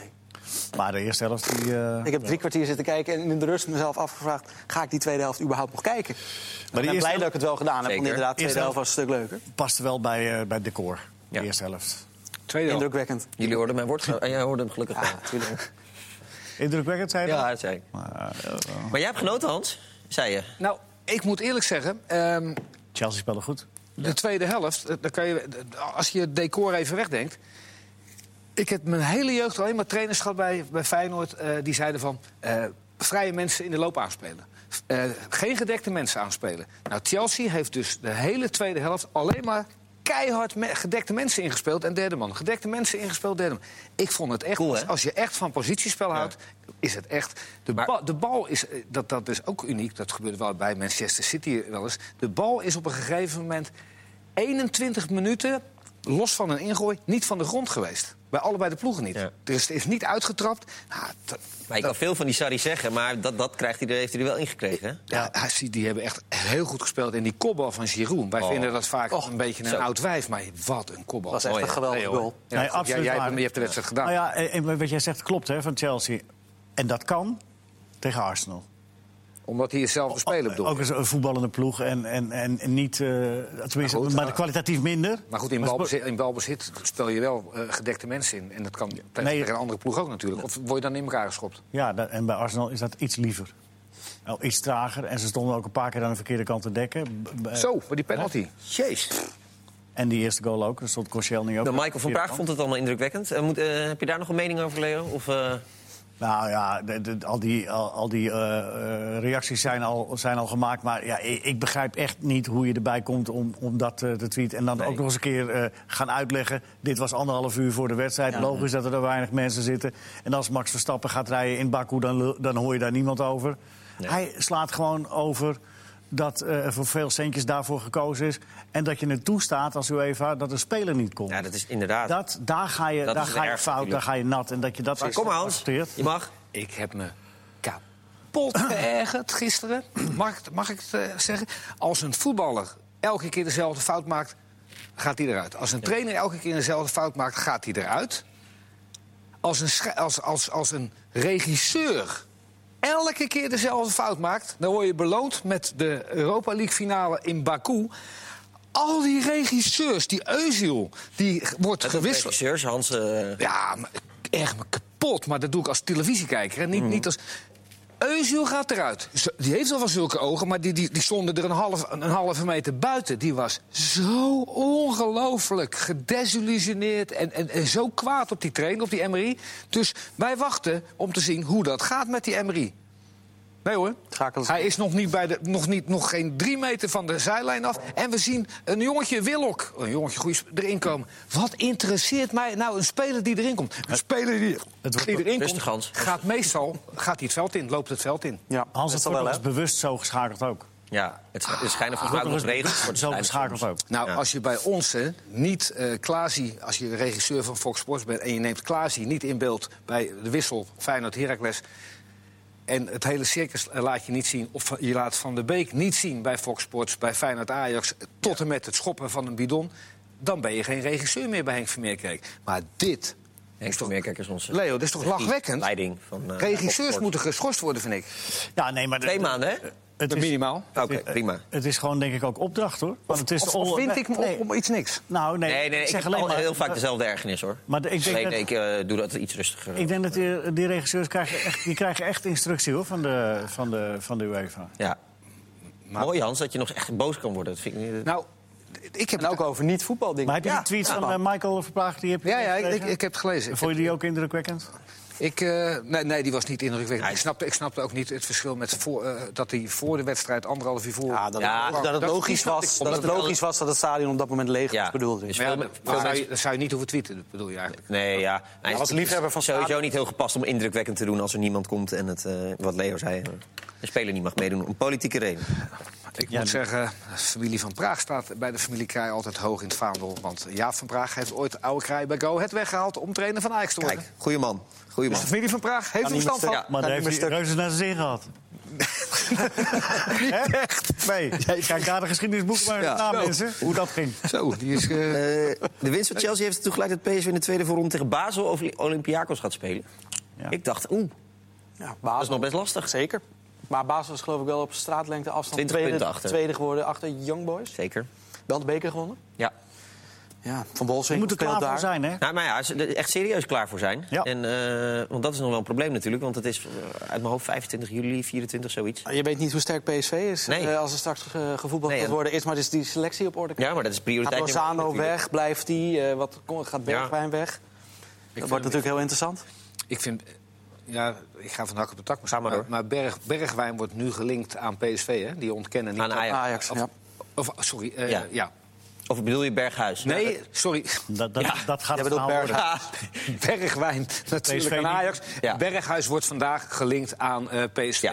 Speaker 1: Maar de eerste helft die... eh,
Speaker 3: Ik heb drie kwartier zitten kijken en in de rust mezelf afgevraagd... ga ik die tweede helft überhaupt nog kijken? Maar ik ben
Speaker 1: eerste
Speaker 3: blij dat ik het wel gedaan heb, want
Speaker 2: Zeker.
Speaker 3: inderdaad, de
Speaker 1: Eerste
Speaker 3: tweede helft was een stuk leuker.
Speaker 1: past wel bij, eh, bij het decor,
Speaker 2: Ja.
Speaker 1: de eerste helft.
Speaker 4: Tweede helft.
Speaker 3: Indrukwekkend.
Speaker 2: Jullie hoorden mijn woord. En jij hoorde hem gelukkig
Speaker 3: Ja,
Speaker 2: wel.
Speaker 3: natuurlijk.
Speaker 1: Indrukwekkend, zei je
Speaker 2: Ja,
Speaker 1: dat?
Speaker 2: dat zei ik.
Speaker 1: Maar, eh, eh,
Speaker 2: Maar jij hebt genoten, Hans? Zei je.
Speaker 4: Nou, ik moet eerlijk zeggen, ehm,
Speaker 1: Chelsea speelde goed.
Speaker 4: de tweede helft, eh, dan kan je, eh, als je het decor even wegdenkt... Ik heb mijn hele jeugd alleen maar trainers gehad bij, bij Feyenoord... eh, die zeiden van, eh, vrije mensen in de loop aanspelen. Eh, geen gedekte mensen aanspelen. Nou, Chelsea heeft dus de hele tweede helft alleen maar keihard me- gedekte mensen ingespeeld en derde man. Gedekte mensen ingespeeld, derde man. Ik vond het echt,
Speaker 2: Cool, hè?
Speaker 4: als, als je echt van positiespel houdt, is het echt... De,
Speaker 2: Maar-
Speaker 4: ba- de bal is, eh, dat, dat is ook uniek, dat gebeurt wel bij Manchester City wel eens. De bal is op een gegeven moment 21 minuten, los van een ingooi, niet van de grond geweest. Bij allebei de ploegen niet.
Speaker 2: Ja.
Speaker 4: Dus het is niet uitgetrapt. Nou, dat-
Speaker 2: Maar ik kan veel van die Sarri zeggen, maar dat, dat krijgt hij, er- heeft hij er wel ingekregen. hè?
Speaker 4: ja, hij ziet- die hebben echt heel goed gespeeld. En die kopbal van Giroud, wij
Speaker 2: Oh.
Speaker 4: vinden dat vaak een beetje een
Speaker 2: Zo.
Speaker 4: oud wijf. Maar wat een kopbal.
Speaker 3: Dat was echt
Speaker 2: Mooi,
Speaker 3: een
Speaker 2: hè?
Speaker 3: geweldige
Speaker 4: hoor.
Speaker 3: goal.
Speaker 4: Ja,
Speaker 1: Nee,
Speaker 4: goed,
Speaker 1: absoluut
Speaker 4: jij, jij,
Speaker 1: waar.
Speaker 4: je hebt de wedstrijd gedaan.
Speaker 1: Nou ja, en- en wat jij zegt klopt hè, van Chelsea. En dat kan tegen Arsenal.
Speaker 4: Omdat hij jezelf
Speaker 1: Oh,
Speaker 4: te spelen bedoelt.
Speaker 1: Ook eens een voetballende ploeg en, en, en, en niet, eh, tenminste,
Speaker 4: goed,
Speaker 1: maar
Speaker 4: eh,
Speaker 1: kwalitatief minder.
Speaker 4: Maar goed, in
Speaker 1: spo-
Speaker 4: balbezit, in balbezit speel je wel eh, gedekte mensen in. En dat kan tegen
Speaker 1: Nee.
Speaker 4: tegen een andere ploeg ook natuurlijk. Of word je dan in elkaar geschopt?
Speaker 1: Ja, dat- en bij Arsenal is dat iets liever. Wel iets trager en ze stonden ook een paar keer aan de verkeerde kant te dekken. B- b-
Speaker 4: Zo, maar die penalty.
Speaker 2: Jeez.
Speaker 1: En die eerste goal ook, daar stond Cochel niet ook.
Speaker 2: Nou,
Speaker 1: aan de
Speaker 2: Michael van Praag
Speaker 1: verkeerde kant.
Speaker 2: vond het allemaal indrukwekkend. Eh, moet, eh, heb je daar nog een mening over, Leo? Of, eh,
Speaker 1: Nou ja, de- de- al die, al, al die eh, eh, reacties zijn al, zijn al gemaakt. Maar ja, ik, ik begrijp echt niet hoe je erbij komt om, om dat eh, te tweeten. En dan ook nog eens een keer eh, gaan uitleggen. Dit was anderhalf uur voor de wedstrijd. Logisch dat er daar weinig mensen zitten. En als Max Verstappen gaat rijden in Baku, dan, lu- dan hoor je daar niemand over. Hij slaat gewoon over dat eh, er voor veel centjes daarvoor gekozen is. En dat je het toestaat als UEFA dat een speler niet komt.
Speaker 2: Ja, dat is inderdaad.
Speaker 1: Dat, daar ga je,
Speaker 2: Dat
Speaker 1: daar
Speaker 2: is het
Speaker 1: ga je
Speaker 2: ergste
Speaker 1: fout, daar
Speaker 2: natuurlijk.
Speaker 1: ga je nat. En dat je dat
Speaker 2: kom maar, Hans.
Speaker 1: accepteert.
Speaker 2: Je mag.
Speaker 4: Ik heb me kapot geërgerd gisteren. Mag ik, mag ik het eh, zeggen? Als een voetballer elke keer dezelfde fout maakt... gaat hij eruit. Als een trainer elke keer dezelfde fout maakt, gaat hij eruit. Als een, scha- als, als, als een regisseur elke keer dezelfde fout maakt... dan word je beloond met de Europa League finale in Baku... Al die regisseurs, die Eusiel, die g- wordt
Speaker 2: Met de
Speaker 4: gewisseld.
Speaker 2: regisseurs, Hans... eh,
Speaker 4: Ja, maar ik erg me kapot. Maar dat doe ik als televisiekijker. En niet, niet als. Eusiel gaat eruit. Zo- Die heeft al van zulke ogen, maar die, die, die stonden er een, half, een halve meter buiten. Die was zo ongelooflijk gedesillusioneerd en, en, en zo kwaad op die trainer, op die MRI. Dus wij wachten om te zien hoe dat gaat met die MRI. Nee hoor.
Speaker 3: Schakelt-
Speaker 4: Hij is nog, niet bij de, nog, niet, nog geen drie meter van de zijlijn af. En we zien een jongetje, Willok, een jongetje goeie, sp- erin komen. Wat interesseert mij nou een speler die erin komt? Een speler die,
Speaker 1: wordt-
Speaker 4: die erin
Speaker 2: Rustig,
Speaker 4: komt
Speaker 2: Hans.
Speaker 4: gaat meestal gaat hij het veld in, loopt het veld in.
Speaker 3: Ja.
Speaker 1: Hans,
Speaker 2: Dat
Speaker 1: het
Speaker 2: zal
Speaker 1: wordt
Speaker 2: wel,
Speaker 1: wel eens bewust zo geschakeld ook.
Speaker 2: ja, het sch- er schijnen volgens mij ook
Speaker 1: Wordt
Speaker 2: nog
Speaker 1: wel eens
Speaker 2: regels. voor
Speaker 1: bewust
Speaker 2: te
Speaker 1: Zo
Speaker 2: zijn
Speaker 1: geschakeld
Speaker 2: soms.
Speaker 1: ook.
Speaker 4: Nou,
Speaker 2: Ja.
Speaker 4: als je bij ons hè, niet eh Klaasie, als je de regisseur van Fox Sports bent... en je neemt Klaasie niet in beeld bij de wissel Feyenoord-Heracles... en het hele circus eh, laat je niet zien... of je laat Van der Beek niet zien bij Fox Sports, bij Feyenoord-Ajax... tot en met het schoppen van een bidon... dan ben je geen regisseur meer bij Henk Vermeerkerk. Maar dit...
Speaker 2: Henk Vermeerkerk is onze...
Speaker 4: Leo, dat is toch
Speaker 2: die
Speaker 4: lachwekkend?
Speaker 2: Leiding van... eh,
Speaker 4: Regisseurs
Speaker 2: Fox
Speaker 4: moeten geschorst worden, vind ik.
Speaker 1: Ja, nee, maar de-
Speaker 2: Twee maanden, hè?
Speaker 1: het is,
Speaker 4: Minimaal.
Speaker 2: Oké, prima.
Speaker 1: het is gewoon denk ik ook opdracht, hoor. Want het is
Speaker 4: Of,
Speaker 1: all-
Speaker 4: of vind ik me
Speaker 1: nee.
Speaker 4: op, om iets niks?
Speaker 1: Nou, nee,
Speaker 2: Nee, nee,
Speaker 1: ik
Speaker 2: ik
Speaker 1: zeg
Speaker 2: heb
Speaker 1: alleen
Speaker 2: al
Speaker 1: maar...
Speaker 2: heel vaak dezelfde ergernis, hoor.
Speaker 1: Maar de- ik denk
Speaker 2: Alleen,
Speaker 1: dat-
Speaker 2: ik eh, doe dat iets rustiger.
Speaker 1: Ik denk dat die, die regisseurs krijgen echt, die krijgen echt instructie hoor, van, de, van, de, van de UEFA.
Speaker 2: Ja. Mooi, Hans, dat je nog echt boos kan worden. Dat vind ik niet...
Speaker 4: Nou, ik heb
Speaker 3: En ook over niet-voetbaldingen.
Speaker 1: Maar heb je
Speaker 4: Ja,
Speaker 1: die tweet van eh, Michael Verplaag? Die heb je
Speaker 4: Ja, ja ik, ik,
Speaker 1: gekregen?
Speaker 4: ik heb het gelezen.
Speaker 1: Vond je die ook indrukwekkend?
Speaker 4: Ik, eh, nee, nee, die was niet indrukwekkend.
Speaker 2: Nee.
Speaker 4: Ik, snapte, ik snapte ook niet het verschil met voor, eh, dat hij voor de wedstrijd anderhalf uur voor.
Speaker 3: Ja, dat,
Speaker 2: Ja,
Speaker 3: dat het
Speaker 4: dat-
Speaker 3: logisch
Speaker 4: dat-
Speaker 3: was, dat, het
Speaker 2: dat-
Speaker 3: logisch was dat het stadion op dat moment leeg was,
Speaker 2: Ja.
Speaker 3: bedoelde ik.
Speaker 2: Dus-
Speaker 4: Maar ja,
Speaker 2: veel-
Speaker 4: dat-
Speaker 2: veel
Speaker 4: dat zou je,
Speaker 2: mensen-
Speaker 4: dat zou je niet hoeven tweeten, bedoel je eigenlijk.
Speaker 2: Nee, ja. Hij
Speaker 3: als liefhebber van
Speaker 2: sowieso
Speaker 3: Stadion-
Speaker 2: niet heel gepast om indrukwekkend te doen als er niemand komt en het, eh, wat Leo zei. De speler niet mag meedoen om politieke reden.
Speaker 4: Ik
Speaker 1: Ja,
Speaker 4: moet
Speaker 1: die-
Speaker 4: zeggen, de familie van Praag staat bij de familie Krij altijd hoog in het vaandel. Want Jaap van Praag heeft ooit oude Krij bij Go het weggehaald om trainer van Ajax te worden.
Speaker 2: Kijk, goede man.
Speaker 4: *laughs*
Speaker 2: Goeie
Speaker 4: Dus
Speaker 2: man. Eh,
Speaker 4: de familie van Praag heeft er
Speaker 3: niet
Speaker 4: verstand
Speaker 3: met
Speaker 4: van.
Speaker 3: stuk.
Speaker 1: Maar
Speaker 3: Ja,
Speaker 1: daar heeft
Speaker 3: die
Speaker 1: hij
Speaker 3: stuk.
Speaker 1: reuze naar zijn zin gehad. Niet echt. Nee, kijk daar de geschiedenisboek maar
Speaker 2: Ja.
Speaker 1: na,
Speaker 2: Zo.
Speaker 1: mensen. Hoe dat ging.
Speaker 4: Zo, die is... eh,
Speaker 2: Eh, de winst van Chelsea heeft ertoe geleid dat PSV in de tweede voorronde tegen Basel over Olympiakos gaat spelen.
Speaker 1: Ja.
Speaker 2: Ik dacht, oeh,
Speaker 3: Ja,
Speaker 2: dat is
Speaker 3: Basel,
Speaker 2: nog best lastig.
Speaker 3: zeker. Maar Basel is geloof ik wel op straatlengte afstand
Speaker 2: 20
Speaker 3: tweede,
Speaker 2: punten achter.
Speaker 3: tweede geworden achter Young Boys.
Speaker 2: Zeker.
Speaker 3: Wel de beker gewonnen.
Speaker 2: Ja.
Speaker 3: Ja, van
Speaker 1: Je
Speaker 3: Bolswinkel
Speaker 1: moet er klaar voor zijn, hè?
Speaker 2: Nou, maar ja, ze er echt serieus klaar voor zijn.
Speaker 1: Ja.
Speaker 2: En, eh, want dat is nog wel een probleem natuurlijk, want het is eh, uit mijn hoofd 25 juli, 24, zoiets.
Speaker 3: Ah, Je weet niet hoe sterk PSV is
Speaker 2: Nee.
Speaker 3: eh, als er straks eh, gevoetbald
Speaker 2: Nee,
Speaker 3: gaat
Speaker 2: en-
Speaker 3: worden. Is maar dus die selectie op orde.
Speaker 2: Ja, maar dat is prioriteit.
Speaker 3: Gaat
Speaker 2: nummer één
Speaker 3: Lozano
Speaker 2: natuurlijk.
Speaker 3: weg? Blijft die? eh, wat kom- gaat Bergwijn weg?
Speaker 4: vind
Speaker 3: Dat
Speaker 4: hem-
Speaker 3: wordt natuurlijk heel interessant.
Speaker 4: Ik vind. Ja, ik ga van hak op de tak. Maar,
Speaker 2: Ga maar door.
Speaker 4: maar Berg, Bergwijn wordt nu gelinkt aan PSV, hè? Die ontkennen niet.
Speaker 2: Aan Ajax.
Speaker 3: Ajax,
Speaker 4: Of-
Speaker 3: ja.
Speaker 4: Of, sorry, eh,
Speaker 2: Ja.
Speaker 4: ja.
Speaker 2: Of bedoel je Berghuis?
Speaker 4: Nee, sorry.
Speaker 1: Dat, dat, dat gaat
Speaker 3: Jij
Speaker 1: het
Speaker 3: bedoelt
Speaker 1: verhaal
Speaker 4: *laughs*
Speaker 1: worden.
Speaker 3: Berghuis.
Speaker 2: Ja.
Speaker 4: Ah, Bergwijn natuurlijk
Speaker 1: niet.
Speaker 4: aan Ajax.
Speaker 2: Ja.
Speaker 4: Berghuis wordt vandaag gelinkt aan eh, PSV.
Speaker 2: Ja.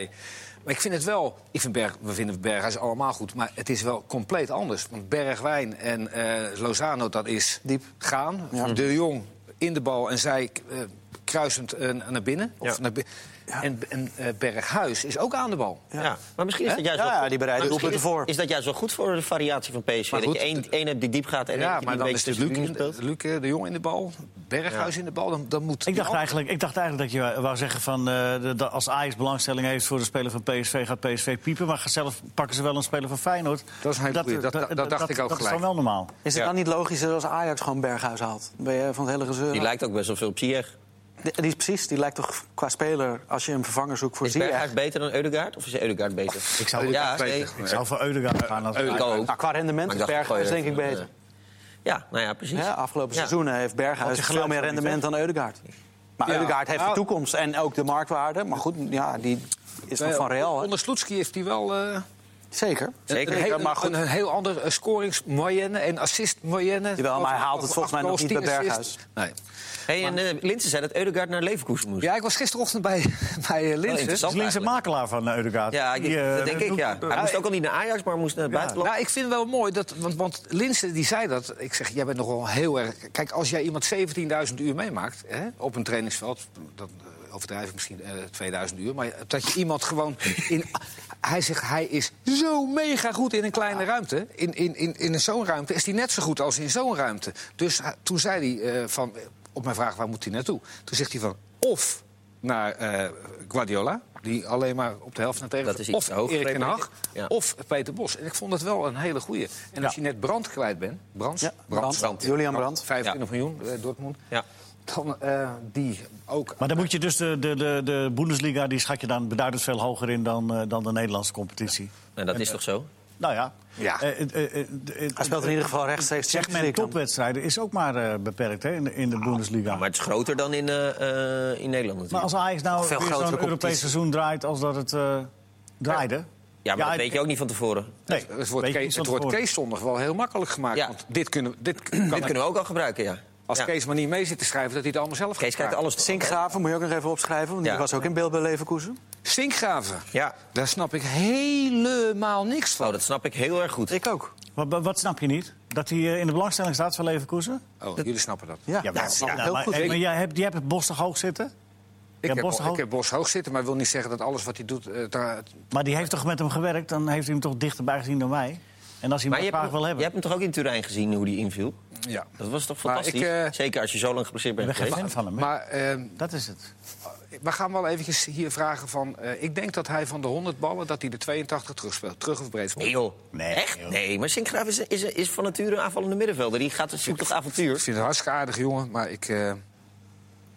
Speaker 4: Maar ik vind het wel... Ik vind Berg, we vinden Berghuis allemaal goed, maar het is wel compleet anders. Want Bergwijn en eh, Lozano, dat is
Speaker 3: Diep.
Speaker 4: gaan.
Speaker 3: Ja.
Speaker 4: De Jong in de bal en zij eh, kruisend eh, naar binnen. Of
Speaker 2: Ja.
Speaker 4: naar bi- En, en eh, Berghuis is ook aan de bal.
Speaker 2: Ja. maar misschien is dat juist
Speaker 3: Ja,
Speaker 2: wel
Speaker 3: ja,
Speaker 2: goed.
Speaker 3: die bereiden
Speaker 2: Maar misschien
Speaker 3: doelpunten
Speaker 2: is-
Speaker 3: voor.
Speaker 2: Is dat juist wel goed voor de variatie van PSV?
Speaker 4: Maar
Speaker 2: Dat je
Speaker 4: goed,
Speaker 2: één, één hebt die diep gaat en
Speaker 4: Ja,
Speaker 2: één
Speaker 4: maar
Speaker 2: die
Speaker 4: dan
Speaker 2: een
Speaker 4: is
Speaker 2: beetje
Speaker 4: het
Speaker 2: tussen
Speaker 4: Luc, in
Speaker 2: de muren
Speaker 4: de,
Speaker 2: speelt.
Speaker 4: Luc, eh, de Jong in de bal, Berghuis in de bal. Dan, dan moet
Speaker 1: Ik dacht,
Speaker 4: die-
Speaker 1: eigenlijk, ik dacht eigenlijk dat je wou zeggen van... eh, de- dat als Ajax belangstelling heeft voor de speler van PSV... gaat PSV piepen, maar zelf pakken ze wel een speler van Feyenoord.
Speaker 4: Dat is een hele goeie. Dat- dat- dat dacht ik ook
Speaker 1: Dat is
Speaker 4: gelijk.
Speaker 1: dan wel normaal.
Speaker 3: Is het
Speaker 2: Ja.
Speaker 3: dan niet logischer als Ajax gewoon Berghuis haalt? Dan Ben je van het hele gezeur?
Speaker 2: Die
Speaker 3: af.
Speaker 2: lijkt ook best wel veel op Ziyech.
Speaker 3: Die, die is precies, die lijkt toch qua speler, als je een vervanger zoekt voor
Speaker 2: Is
Speaker 3: Ziyech...
Speaker 2: Berghuis beter dan Eudegaard? Of is Eudegaard beter? Ik
Speaker 1: zou
Speaker 2: ja,
Speaker 4: beter.
Speaker 2: nee,
Speaker 1: Ik zou voor Eudegaard gaan. Als...
Speaker 2: Ik ook.
Speaker 3: Nou, qua rendement
Speaker 2: Maar
Speaker 3: is
Speaker 2: ik dacht,
Speaker 3: Berghuis
Speaker 2: gooi
Speaker 3: denk
Speaker 2: je
Speaker 3: ik
Speaker 2: even,
Speaker 3: beter.
Speaker 2: Ja, nou ja, precies.
Speaker 3: Hè, afgelopen
Speaker 2: Ja.
Speaker 3: seizoenen heeft Berghuis
Speaker 1: je
Speaker 3: veel
Speaker 1: geluid
Speaker 3: meer
Speaker 1: van niet,
Speaker 3: rendement dan Eudegaard. Maar
Speaker 4: Ja.
Speaker 3: Eudegaard heeft de
Speaker 4: Nou.
Speaker 3: toekomst en ook de marktwaarde. Maar goed, ja, die is nog
Speaker 4: Eh,
Speaker 3: van Real. hè?
Speaker 4: Onder Sloetski heeft hij wel... eh,
Speaker 3: Zeker. eh,
Speaker 2: Zeker.
Speaker 4: Een, heel,
Speaker 3: maar goed.
Speaker 4: een, een heel ander eh, scoringsmoyenne en assistmoyenne.
Speaker 3: Jawel, maar hij haalt het volgens mij nog niet bij Berghuis.
Speaker 4: Nee.
Speaker 2: Hey, en eh, Linsen zei dat Eudegaard naar Leverkusen moest.
Speaker 4: Ja, ik was gisterochtend bij, *laughs* bij
Speaker 3: Oh,
Speaker 4: eh,
Speaker 2: Wel
Speaker 4: Linzen.
Speaker 2: interessant
Speaker 1: Dat is links een
Speaker 2: eigenlijk.
Speaker 1: makelaar van eh, Eudegaard.
Speaker 2: Ja, ik-
Speaker 1: Die, eh,
Speaker 2: dat denk ik,
Speaker 1: doet-
Speaker 2: ja. Hij moest ook al niet naar Ajax, maar moest naar het buitenland.
Speaker 4: Nou, ik vind wel mooi, dat, want, want Linsen die zei dat. Ik zeg, jij bent nogal heel erg... Kijk, als jij iemand 17.000 uur meemaakt hè, op een trainingsveld... dan eh, overdrijf ik misschien eh, 2000 uur. Maar dat je iemand gewoon.
Speaker 2: *laughs*
Speaker 4: In, hij zegt, hij is zo mega goed in een kleine ruimte. In, in, in, in zo'n ruimte is hij net zo goed als in zo'n ruimte. Dus hij- toen zei hij eh, van. Op mijn vraag waar moet hij naartoe? Toen zegt hij van. Of naar eh, Guardiola, die alleen maar op de helft naar tegen.
Speaker 2: Dat is iets
Speaker 4: of
Speaker 2: te hoog
Speaker 4: Erik ten
Speaker 2: gegrepen,
Speaker 4: Hag,
Speaker 2: denk ik. Ja.
Speaker 4: of Peter Bos. En ik vond dat wel een hele goeie. En als
Speaker 1: Ja.
Speaker 4: je net brand kwijt bent, brand,
Speaker 3: Ja, Brandt. Julian Brandt.
Speaker 4: 25 miljoen, eh, Dortmund.
Speaker 2: Ja.
Speaker 4: Dan eh, die ook.
Speaker 1: Maar dan moet je dus de, de, de, de Bundesliga, die schat je dan beduidend veel hoger in dan, eh, dan de Nederlandse competitie.
Speaker 2: En dat is toch zo?
Speaker 1: Nou ja.
Speaker 4: Ja.
Speaker 1: Eh, eh, eh, eh, eh,
Speaker 3: Hij speelt in ieder geval rechtstreeks
Speaker 1: Zeg
Speaker 3: Champions
Speaker 1: men
Speaker 3: League dan.
Speaker 1: topwedstrijden is ook maar eh, beperkt hè, in de, in de
Speaker 4: Nou,
Speaker 1: Bundesliga.
Speaker 2: Maar
Speaker 1: Maar,
Speaker 2: het is groter dan in, eh, eh, in Nederland natuurlijk.
Speaker 1: als Ajax nou
Speaker 3: Veel
Speaker 1: weer
Speaker 3: grotere
Speaker 1: zo'n Europees
Speaker 3: competitie.
Speaker 1: seizoen draait als dat het eh, draaide...
Speaker 2: Ja, maar
Speaker 1: Ja,
Speaker 2: dat
Speaker 1: ik-
Speaker 2: weet je ook niet van tevoren.
Speaker 1: Nee,
Speaker 4: Het
Speaker 1: weet
Speaker 4: wordt,
Speaker 1: je
Speaker 4: Kees, het
Speaker 1: niet van
Speaker 4: wordt
Speaker 1: tevoren.
Speaker 4: Kees zondag wel heel makkelijk gemaakt.
Speaker 2: Ja.
Speaker 4: Want dit kunnen, dit kan
Speaker 2: Dit kunnen we ook al gebruiken, ja.
Speaker 4: Als
Speaker 2: ja.
Speaker 4: Kees maar niet mee zit te schrijven, dat hij het allemaal zelf
Speaker 2: Kees
Speaker 4: gaat
Speaker 2: kijkt alles toch?
Speaker 3: eh, Sinkgraven moet je ook nog even opschrijven, want
Speaker 2: Ja.
Speaker 3: die was ook in beeld bij Leverkusen.
Speaker 4: Sinkgraven,
Speaker 2: Ja.
Speaker 4: daar snap ik helemaal niks van.
Speaker 2: Oh, dat snap ik heel erg goed.
Speaker 3: Ik ook.
Speaker 1: Wat, wat- wat snap je niet? Dat hij eh, in de belangstelling staat van Leverkusen?
Speaker 4: Oh, jullie snappen dat.
Speaker 3: Ja,
Speaker 1: wel.
Speaker 3: dat snap ik
Speaker 1: Ja,
Speaker 3: heel
Speaker 1: maar,
Speaker 3: goed.
Speaker 1: eh, maar jij hebt, jij hebt het bos toch hoog zitten?
Speaker 4: Ik, heb,
Speaker 1: Bos
Speaker 4: Bo-
Speaker 1: hoog-
Speaker 4: ik heb Bos hoog zitten, maar wil niet zeggen dat alles wat hij doet... eh, daar-
Speaker 1: Maar die heeft toch met hem gewerkt? Dan heeft hij hem toch dichterbij gezien dan wij? En als hij
Speaker 2: Maar
Speaker 1: hem
Speaker 2: je
Speaker 1: graag
Speaker 2: hebt,
Speaker 1: wil
Speaker 2: je
Speaker 1: hebben...
Speaker 2: hebt hem toch ook in Turijn gezien, hoe die inviel?
Speaker 4: ja.
Speaker 2: Dat was toch
Speaker 4: Maar
Speaker 2: fantastisch?
Speaker 4: ik, eh,
Speaker 2: Zeker als je zo lang geblesseerd
Speaker 1: Ik
Speaker 2: bent
Speaker 1: ben geen
Speaker 2: geweest.
Speaker 1: fan van hem. hè?
Speaker 4: Maar eh,
Speaker 1: Dat is het.
Speaker 4: we gaan wel eventjes hier vragen van... eh, ik denk dat hij van de 100 ballen, dat hij de 82 terugspeelt. Terug of breed.
Speaker 2: Nee, joh.
Speaker 1: Nee,
Speaker 2: Echt?
Speaker 1: joh.
Speaker 2: Nee, maar Sinkgraaf is, is, is van nature een aanvallende middenvelder. Die gaat zoekt tot
Speaker 4: Ik
Speaker 2: avontuur.
Speaker 4: vind het een hartstikke aardig jongen, maar ik... eh,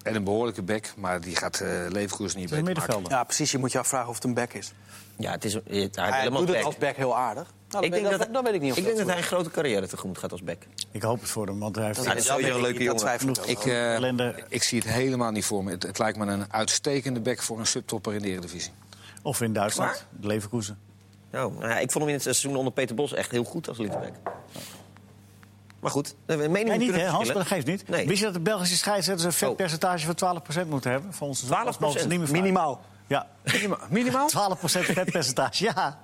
Speaker 4: en een behoorlijke bek, maar die gaat eh Leverkusen niet
Speaker 1: Het is
Speaker 4: beter
Speaker 1: een
Speaker 4: maken.
Speaker 1: middenvelder.
Speaker 3: Ja, precies. Je moet je afvragen of het een back is.
Speaker 2: Ja, het is, een- hij heeft
Speaker 3: Hij
Speaker 2: helemaal
Speaker 3: doet het
Speaker 2: back.
Speaker 3: als back heel aardig. Nou, dan,
Speaker 2: Ik
Speaker 3: weet,
Speaker 2: denk
Speaker 3: dat,
Speaker 2: dat,
Speaker 3: dan weet ik niet of
Speaker 2: ik
Speaker 3: dat
Speaker 2: denk dat hij
Speaker 3: goed
Speaker 2: een grote carrière tegemoet gaat als back.
Speaker 1: Ik hoop het voor hem, want hij heeft
Speaker 2: Ja, dat is
Speaker 3: dat
Speaker 2: sowieso een
Speaker 3: weet ik
Speaker 2: leuke
Speaker 3: niet, dat
Speaker 2: jongen.
Speaker 3: twijfel ik
Speaker 1: genoeg
Speaker 3: ook.
Speaker 4: Ik, eh,
Speaker 1: ellende.
Speaker 4: ik zie het helemaal niet voor me. Het, het lijkt me een uitstekende bek voor een subtopper in de Eredivisie.
Speaker 1: Of in Duitsland, Leverkusen.
Speaker 2: Nou, nou ja, ik vond hem in het seizoen onder Peter Bos echt heel goed als linksback. Maar goed, de meningen
Speaker 1: Nee, niet
Speaker 2: kunnen
Speaker 1: hè, Hans, maar dat
Speaker 2: verschillen.
Speaker 1: geeft niet.
Speaker 2: Nee.
Speaker 1: Wist je dat de Belgische scheidsrechters een
Speaker 2: Oh.
Speaker 1: vetpercentage van 12% moeten hebben? Voor ons
Speaker 2: 12%?
Speaker 3: *laughs*
Speaker 1: Minimaal. Ja,
Speaker 2: *laughs*
Speaker 4: Minimaal?
Speaker 1: 12% vetpercentage, ja.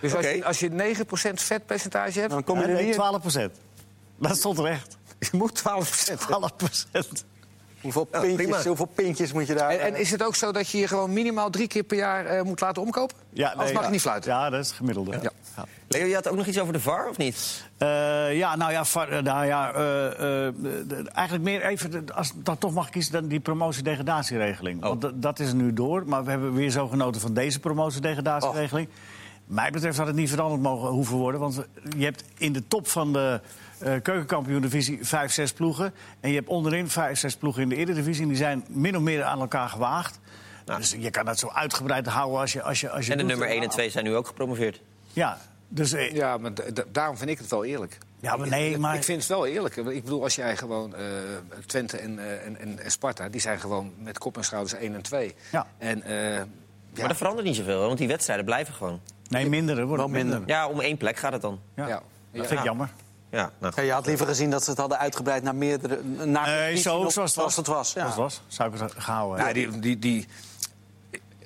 Speaker 4: Dus als,
Speaker 2: Oké.
Speaker 4: je, als je 9% vetpercentage hebt,
Speaker 3: Dan
Speaker 4: dan
Speaker 3: kom je
Speaker 1: Ja,
Speaker 3: er
Speaker 1: nee,
Speaker 3: niet in.
Speaker 1: 12%. Dat stond er echt.
Speaker 4: moet 12%.
Speaker 1: 12%.
Speaker 3: Hoeveel
Speaker 2: Ja, prima.
Speaker 3: pintjes, hoeveel pintjes moet je daar...
Speaker 4: En, en is het ook zo dat je je gewoon minimaal drie keer per jaar eh, moet laten omkopen?
Speaker 1: Ja,
Speaker 4: Anders mag je niet fluiten.
Speaker 1: Ja, dat is het gemiddelde. Ja. Ja.
Speaker 2: Leo, je had ook nog iets over de VAR, of niet?
Speaker 1: Eh, ja, nou ja, va- eh, nou ja eh, eh, de- de- eigenlijk meer even, de- als ik dan toch mag kiezen, dan die promotiedegradatieregeling.
Speaker 2: Oh.
Speaker 1: Want dat- dat is nu door, maar we hebben weer zo genoten van deze promotiedegradatieregeling.
Speaker 2: Oh.
Speaker 1: Mij betreft had het niet veranderd mogen hoeven worden, want we- je hebt in de top van de eh keukenkampioen-divisie vijf, zes ploegen. En je hebt onderin vijf, zes ploegen in de eredivisie en die zijn min of meer aan elkaar gewaagd. Dus je kan dat zo uitgebreid houden als je... Als je, als je
Speaker 2: En de
Speaker 1: doet.
Speaker 2: nummer 1 en 2 zijn nu ook gepromoveerd.
Speaker 1: Ja, dus... eh,
Speaker 4: Ja, maar d- d- daarom vind ik het wel eerlijk.
Speaker 1: Ja, maar nee,
Speaker 4: Ik-
Speaker 1: maar-
Speaker 4: Ik vind het wel eerlijk. Ik bedoel, als jij gewoon... eh, Twente en, eh, en, en, en Sparta, die zijn gewoon met kop en schouders 1 en 2.
Speaker 1: Ja.
Speaker 4: En eh,
Speaker 2: Maar dat verandert niet zoveel, hè, want die wedstrijden blijven gewoon.
Speaker 1: Nee, minder, er wordt
Speaker 3: Wel minder.
Speaker 1: minder.
Speaker 2: Ja, om één plek gaat het dan.
Speaker 1: Ja.
Speaker 4: ja.
Speaker 1: Dat vind ik jammer.
Speaker 2: Ja, nou
Speaker 3: Ja,
Speaker 2: goed.
Speaker 3: je had liever gezien dat ze het hadden uitgebreid naar meerdere... Naar
Speaker 1: Nee, zo,
Speaker 3: op-
Speaker 1: zoals het was.
Speaker 3: het Eh, was.
Speaker 1: Zoals
Speaker 3: Ja.
Speaker 1: het was. Zou ik het gehouden
Speaker 4: Nou,
Speaker 1: hebben.
Speaker 4: die, die, die,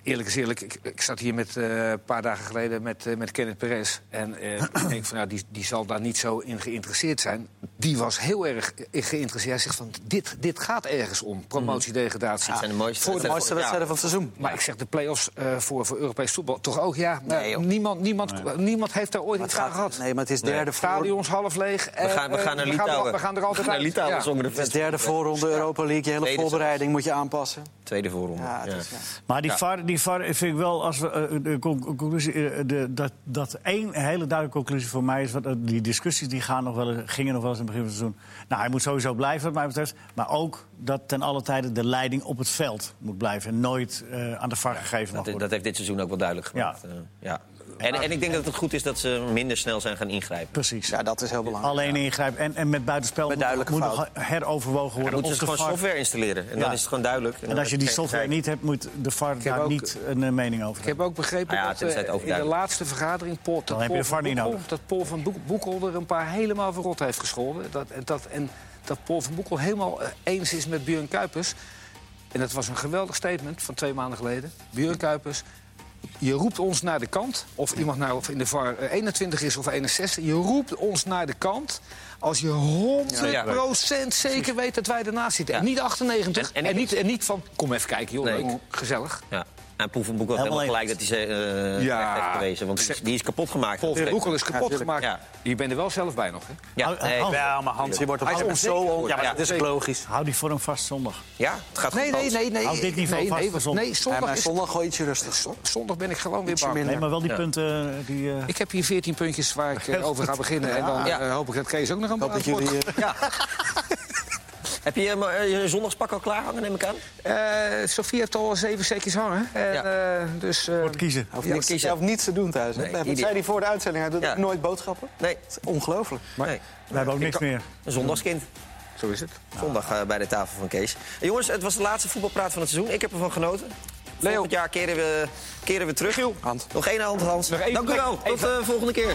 Speaker 4: eerlijk is eerlijk, ik, ik zat hier met, eh, een paar dagen geleden met, eh, met Kenneth Perez. En
Speaker 1: *clears throat*
Speaker 4: eh, ik denk van, nou, die, die zal daar niet zo in geïnteresseerd zijn. Die was heel erg eh, geïnteresseerd. Hij zegt van, dit, dit gaat ergens om,
Speaker 1: Mm.
Speaker 4: promotiedegradatie.
Speaker 2: Dit zijn de mooiste
Speaker 4: Voor de
Speaker 3: De mooiste
Speaker 2: Ja.
Speaker 3: wedstrijd van het seizoen.
Speaker 4: Maar ik zeg de play-offs eh, voor, voor Europees voetbal toch ook, ja. maar
Speaker 2: Nee, joh.
Speaker 4: niemand, niemand, niemand heeft daar ooit
Speaker 3: Maar
Speaker 4: iets
Speaker 3: het
Speaker 4: aan
Speaker 3: gaat-
Speaker 4: gehad.
Speaker 3: Nee, maar het is derde, voor,
Speaker 4: Stadions half leeg. eh,
Speaker 2: We gaan, we
Speaker 3: Eh,
Speaker 2: gaan naar Litouwen.
Speaker 4: We gaan er altijd
Speaker 2: We
Speaker 4: uit.
Speaker 2: gaan *laughs* naar Litouwen
Speaker 4: Ja.
Speaker 2: zonder de
Speaker 3: het is
Speaker 2: fans.
Speaker 3: derde voorronde Europa League. Je hele
Speaker 2: Tweede
Speaker 3: voorbereiding moet je aanpassen.
Speaker 2: Tweede voorronde.
Speaker 3: Ja, het
Speaker 2: Ja.
Speaker 3: is, ja.
Speaker 1: Maar die, VAR, die VAR vind ik wel, als we, eh, de con- conclusie, eh, de, dat, dat één hele duidelijke conclusie voor mij is... Want, eh, die discussies die gaan nog wel, eens- gingen nog wel eens in het begin van het seizoen. Nou, hij moet sowieso blijven wat mij betreft. Maar ook dat ten alle tijde de leiding op het veld moet blijven. En nooit eh, aan de VAR gegeven mag
Speaker 2: Dat,
Speaker 1: worden.
Speaker 2: dat heeft dit seizoen ook wel duidelijk gemaakt.
Speaker 1: Ja.
Speaker 2: Eh, ja. En, en ik denk dat het goed is dat ze minder snel zijn gaan ingrijpen.
Speaker 1: Precies.
Speaker 3: Ja, dat is heel belangrijk.
Speaker 1: Alleen ingrijpen en, en met buitenspel
Speaker 3: Met
Speaker 1: moet,
Speaker 3: duidelijke
Speaker 1: moet nog
Speaker 3: fout.
Speaker 1: heroverwogen
Speaker 2: Dan
Speaker 1: worden.
Speaker 2: moeten ze
Speaker 1: of de
Speaker 2: gewoon
Speaker 1: VAR...
Speaker 2: software installeren. En
Speaker 1: Ja.
Speaker 2: dan is het gewoon duidelijk.
Speaker 1: En als je die software
Speaker 2: krijg-
Speaker 1: niet hebt, moet de VAR daar
Speaker 4: ook-
Speaker 1: niet een eh, mening over
Speaker 4: Ik
Speaker 1: hebben.
Speaker 4: heb ook begrepen
Speaker 2: Ah ja,
Speaker 4: dat
Speaker 2: tenzij het
Speaker 4: eh, in de
Speaker 2: overduidelijk is.
Speaker 4: laatste vergadering Paul, dat
Speaker 1: heb je
Speaker 4: Paul,
Speaker 1: de VAR
Speaker 4: van
Speaker 1: niet
Speaker 4: Boekel,
Speaker 1: nodig.
Speaker 4: dat Paul van Boek- Boekel er een paar helemaal verrot heeft gescholden. Dat, en, dat, en dat Paul van Boekel helemaal eh, eens is met Björn Kuipers. En dat was een geweldig statement van twee maanden geleden. Björn Kuipers, Je roept ons naar de kant. Of iemand nou of in de VAR eh, 21 is of 61. Je roept ons naar de kant. Als je 100%
Speaker 2: Ja, ja.
Speaker 4: zeker weet dat wij ernaast zitten. En
Speaker 2: Ja.
Speaker 4: niet 98. En,
Speaker 2: En- en ik-
Speaker 4: niet, en niet van. Kom even kijken, joh.
Speaker 2: Nee.
Speaker 4: leuk, Gezellig.
Speaker 2: Ja. En Poevenboek had helemaal
Speaker 1: Helemaal
Speaker 2: gelijk dat hij ze eh
Speaker 4: Ja.
Speaker 2: terecht heeft gewezen. Want die is, die is kapot gemaakt.
Speaker 4: Paul van Boekel is kapot gemaakt.
Speaker 2: Ja.
Speaker 4: Je bent er wel zelf bij nog. Hè?
Speaker 2: Ja, nee,
Speaker 1: Hans,
Speaker 6: Ja, maar Hans, je wordt op
Speaker 4: Hij is
Speaker 6: alles zo...
Speaker 4: onzeker
Speaker 6: on- Ja, maar
Speaker 2: Ja,
Speaker 6: dat is ook logisch.
Speaker 1: Hou die vorm vast zondag.
Speaker 2: ja, het gaat goed.
Speaker 4: Nee, nee,
Speaker 2: Hans.
Speaker 4: nee. nee.
Speaker 1: Houd dit niveau
Speaker 4: nee,
Speaker 1: vast
Speaker 4: nee,
Speaker 1: voor
Speaker 4: nee,
Speaker 1: zondag.
Speaker 4: zondag,
Speaker 3: Ja, maar
Speaker 4: is-
Speaker 3: zondag gooi je ietsje rustig.
Speaker 4: zondag ben ik gewoon weer
Speaker 3: Ietsje
Speaker 4: bang.
Speaker 3: minder.
Speaker 1: Nee, maar wel die
Speaker 2: Ja.
Speaker 1: punten eh, die... eh,
Speaker 4: Ik heb hier 14 puntjes waar ik eh, over ga beginnen. En dan
Speaker 2: Ja.
Speaker 4: eh, hoop ik dat Kees ook nog een
Speaker 3: Ik hoop dat jullie... eh,
Speaker 2: Heb je eh, je zondagspak al klaar hangen, neem ik aan?
Speaker 4: Eh, Sofie heeft al zeven setjes hangen. En, eh, dus, eh,
Speaker 1: Wordt kiezen.
Speaker 3: Hij
Speaker 2: Ja,
Speaker 3: hoeft, niks,
Speaker 2: kiezen.
Speaker 3: hij hoeft niets te doen thuis. hè?
Speaker 2: Nee,
Speaker 3: dat
Speaker 2: idiot.
Speaker 3: zei hij voor de uitzending. Hij doet
Speaker 2: Ja.
Speaker 3: ook nooit boodschappen.
Speaker 2: Nee.
Speaker 3: Het is ongelooflijk.
Speaker 2: nee.
Speaker 1: We hebben ook niks meer.
Speaker 2: Een zondagskind.
Speaker 4: Zo is het.
Speaker 2: Zondag eh, bij de tafel van Kees. Eh, jongens, het was de laatste voetbalpraat van het seizoen. Ik heb ervan genoten. Volgend jaar keren we, keren we terug.
Speaker 3: Hand.
Speaker 2: Nog één hand, Hans.
Speaker 4: Nog één
Speaker 2: Dank u
Speaker 4: plek.
Speaker 2: wel. Tot de volgende keer.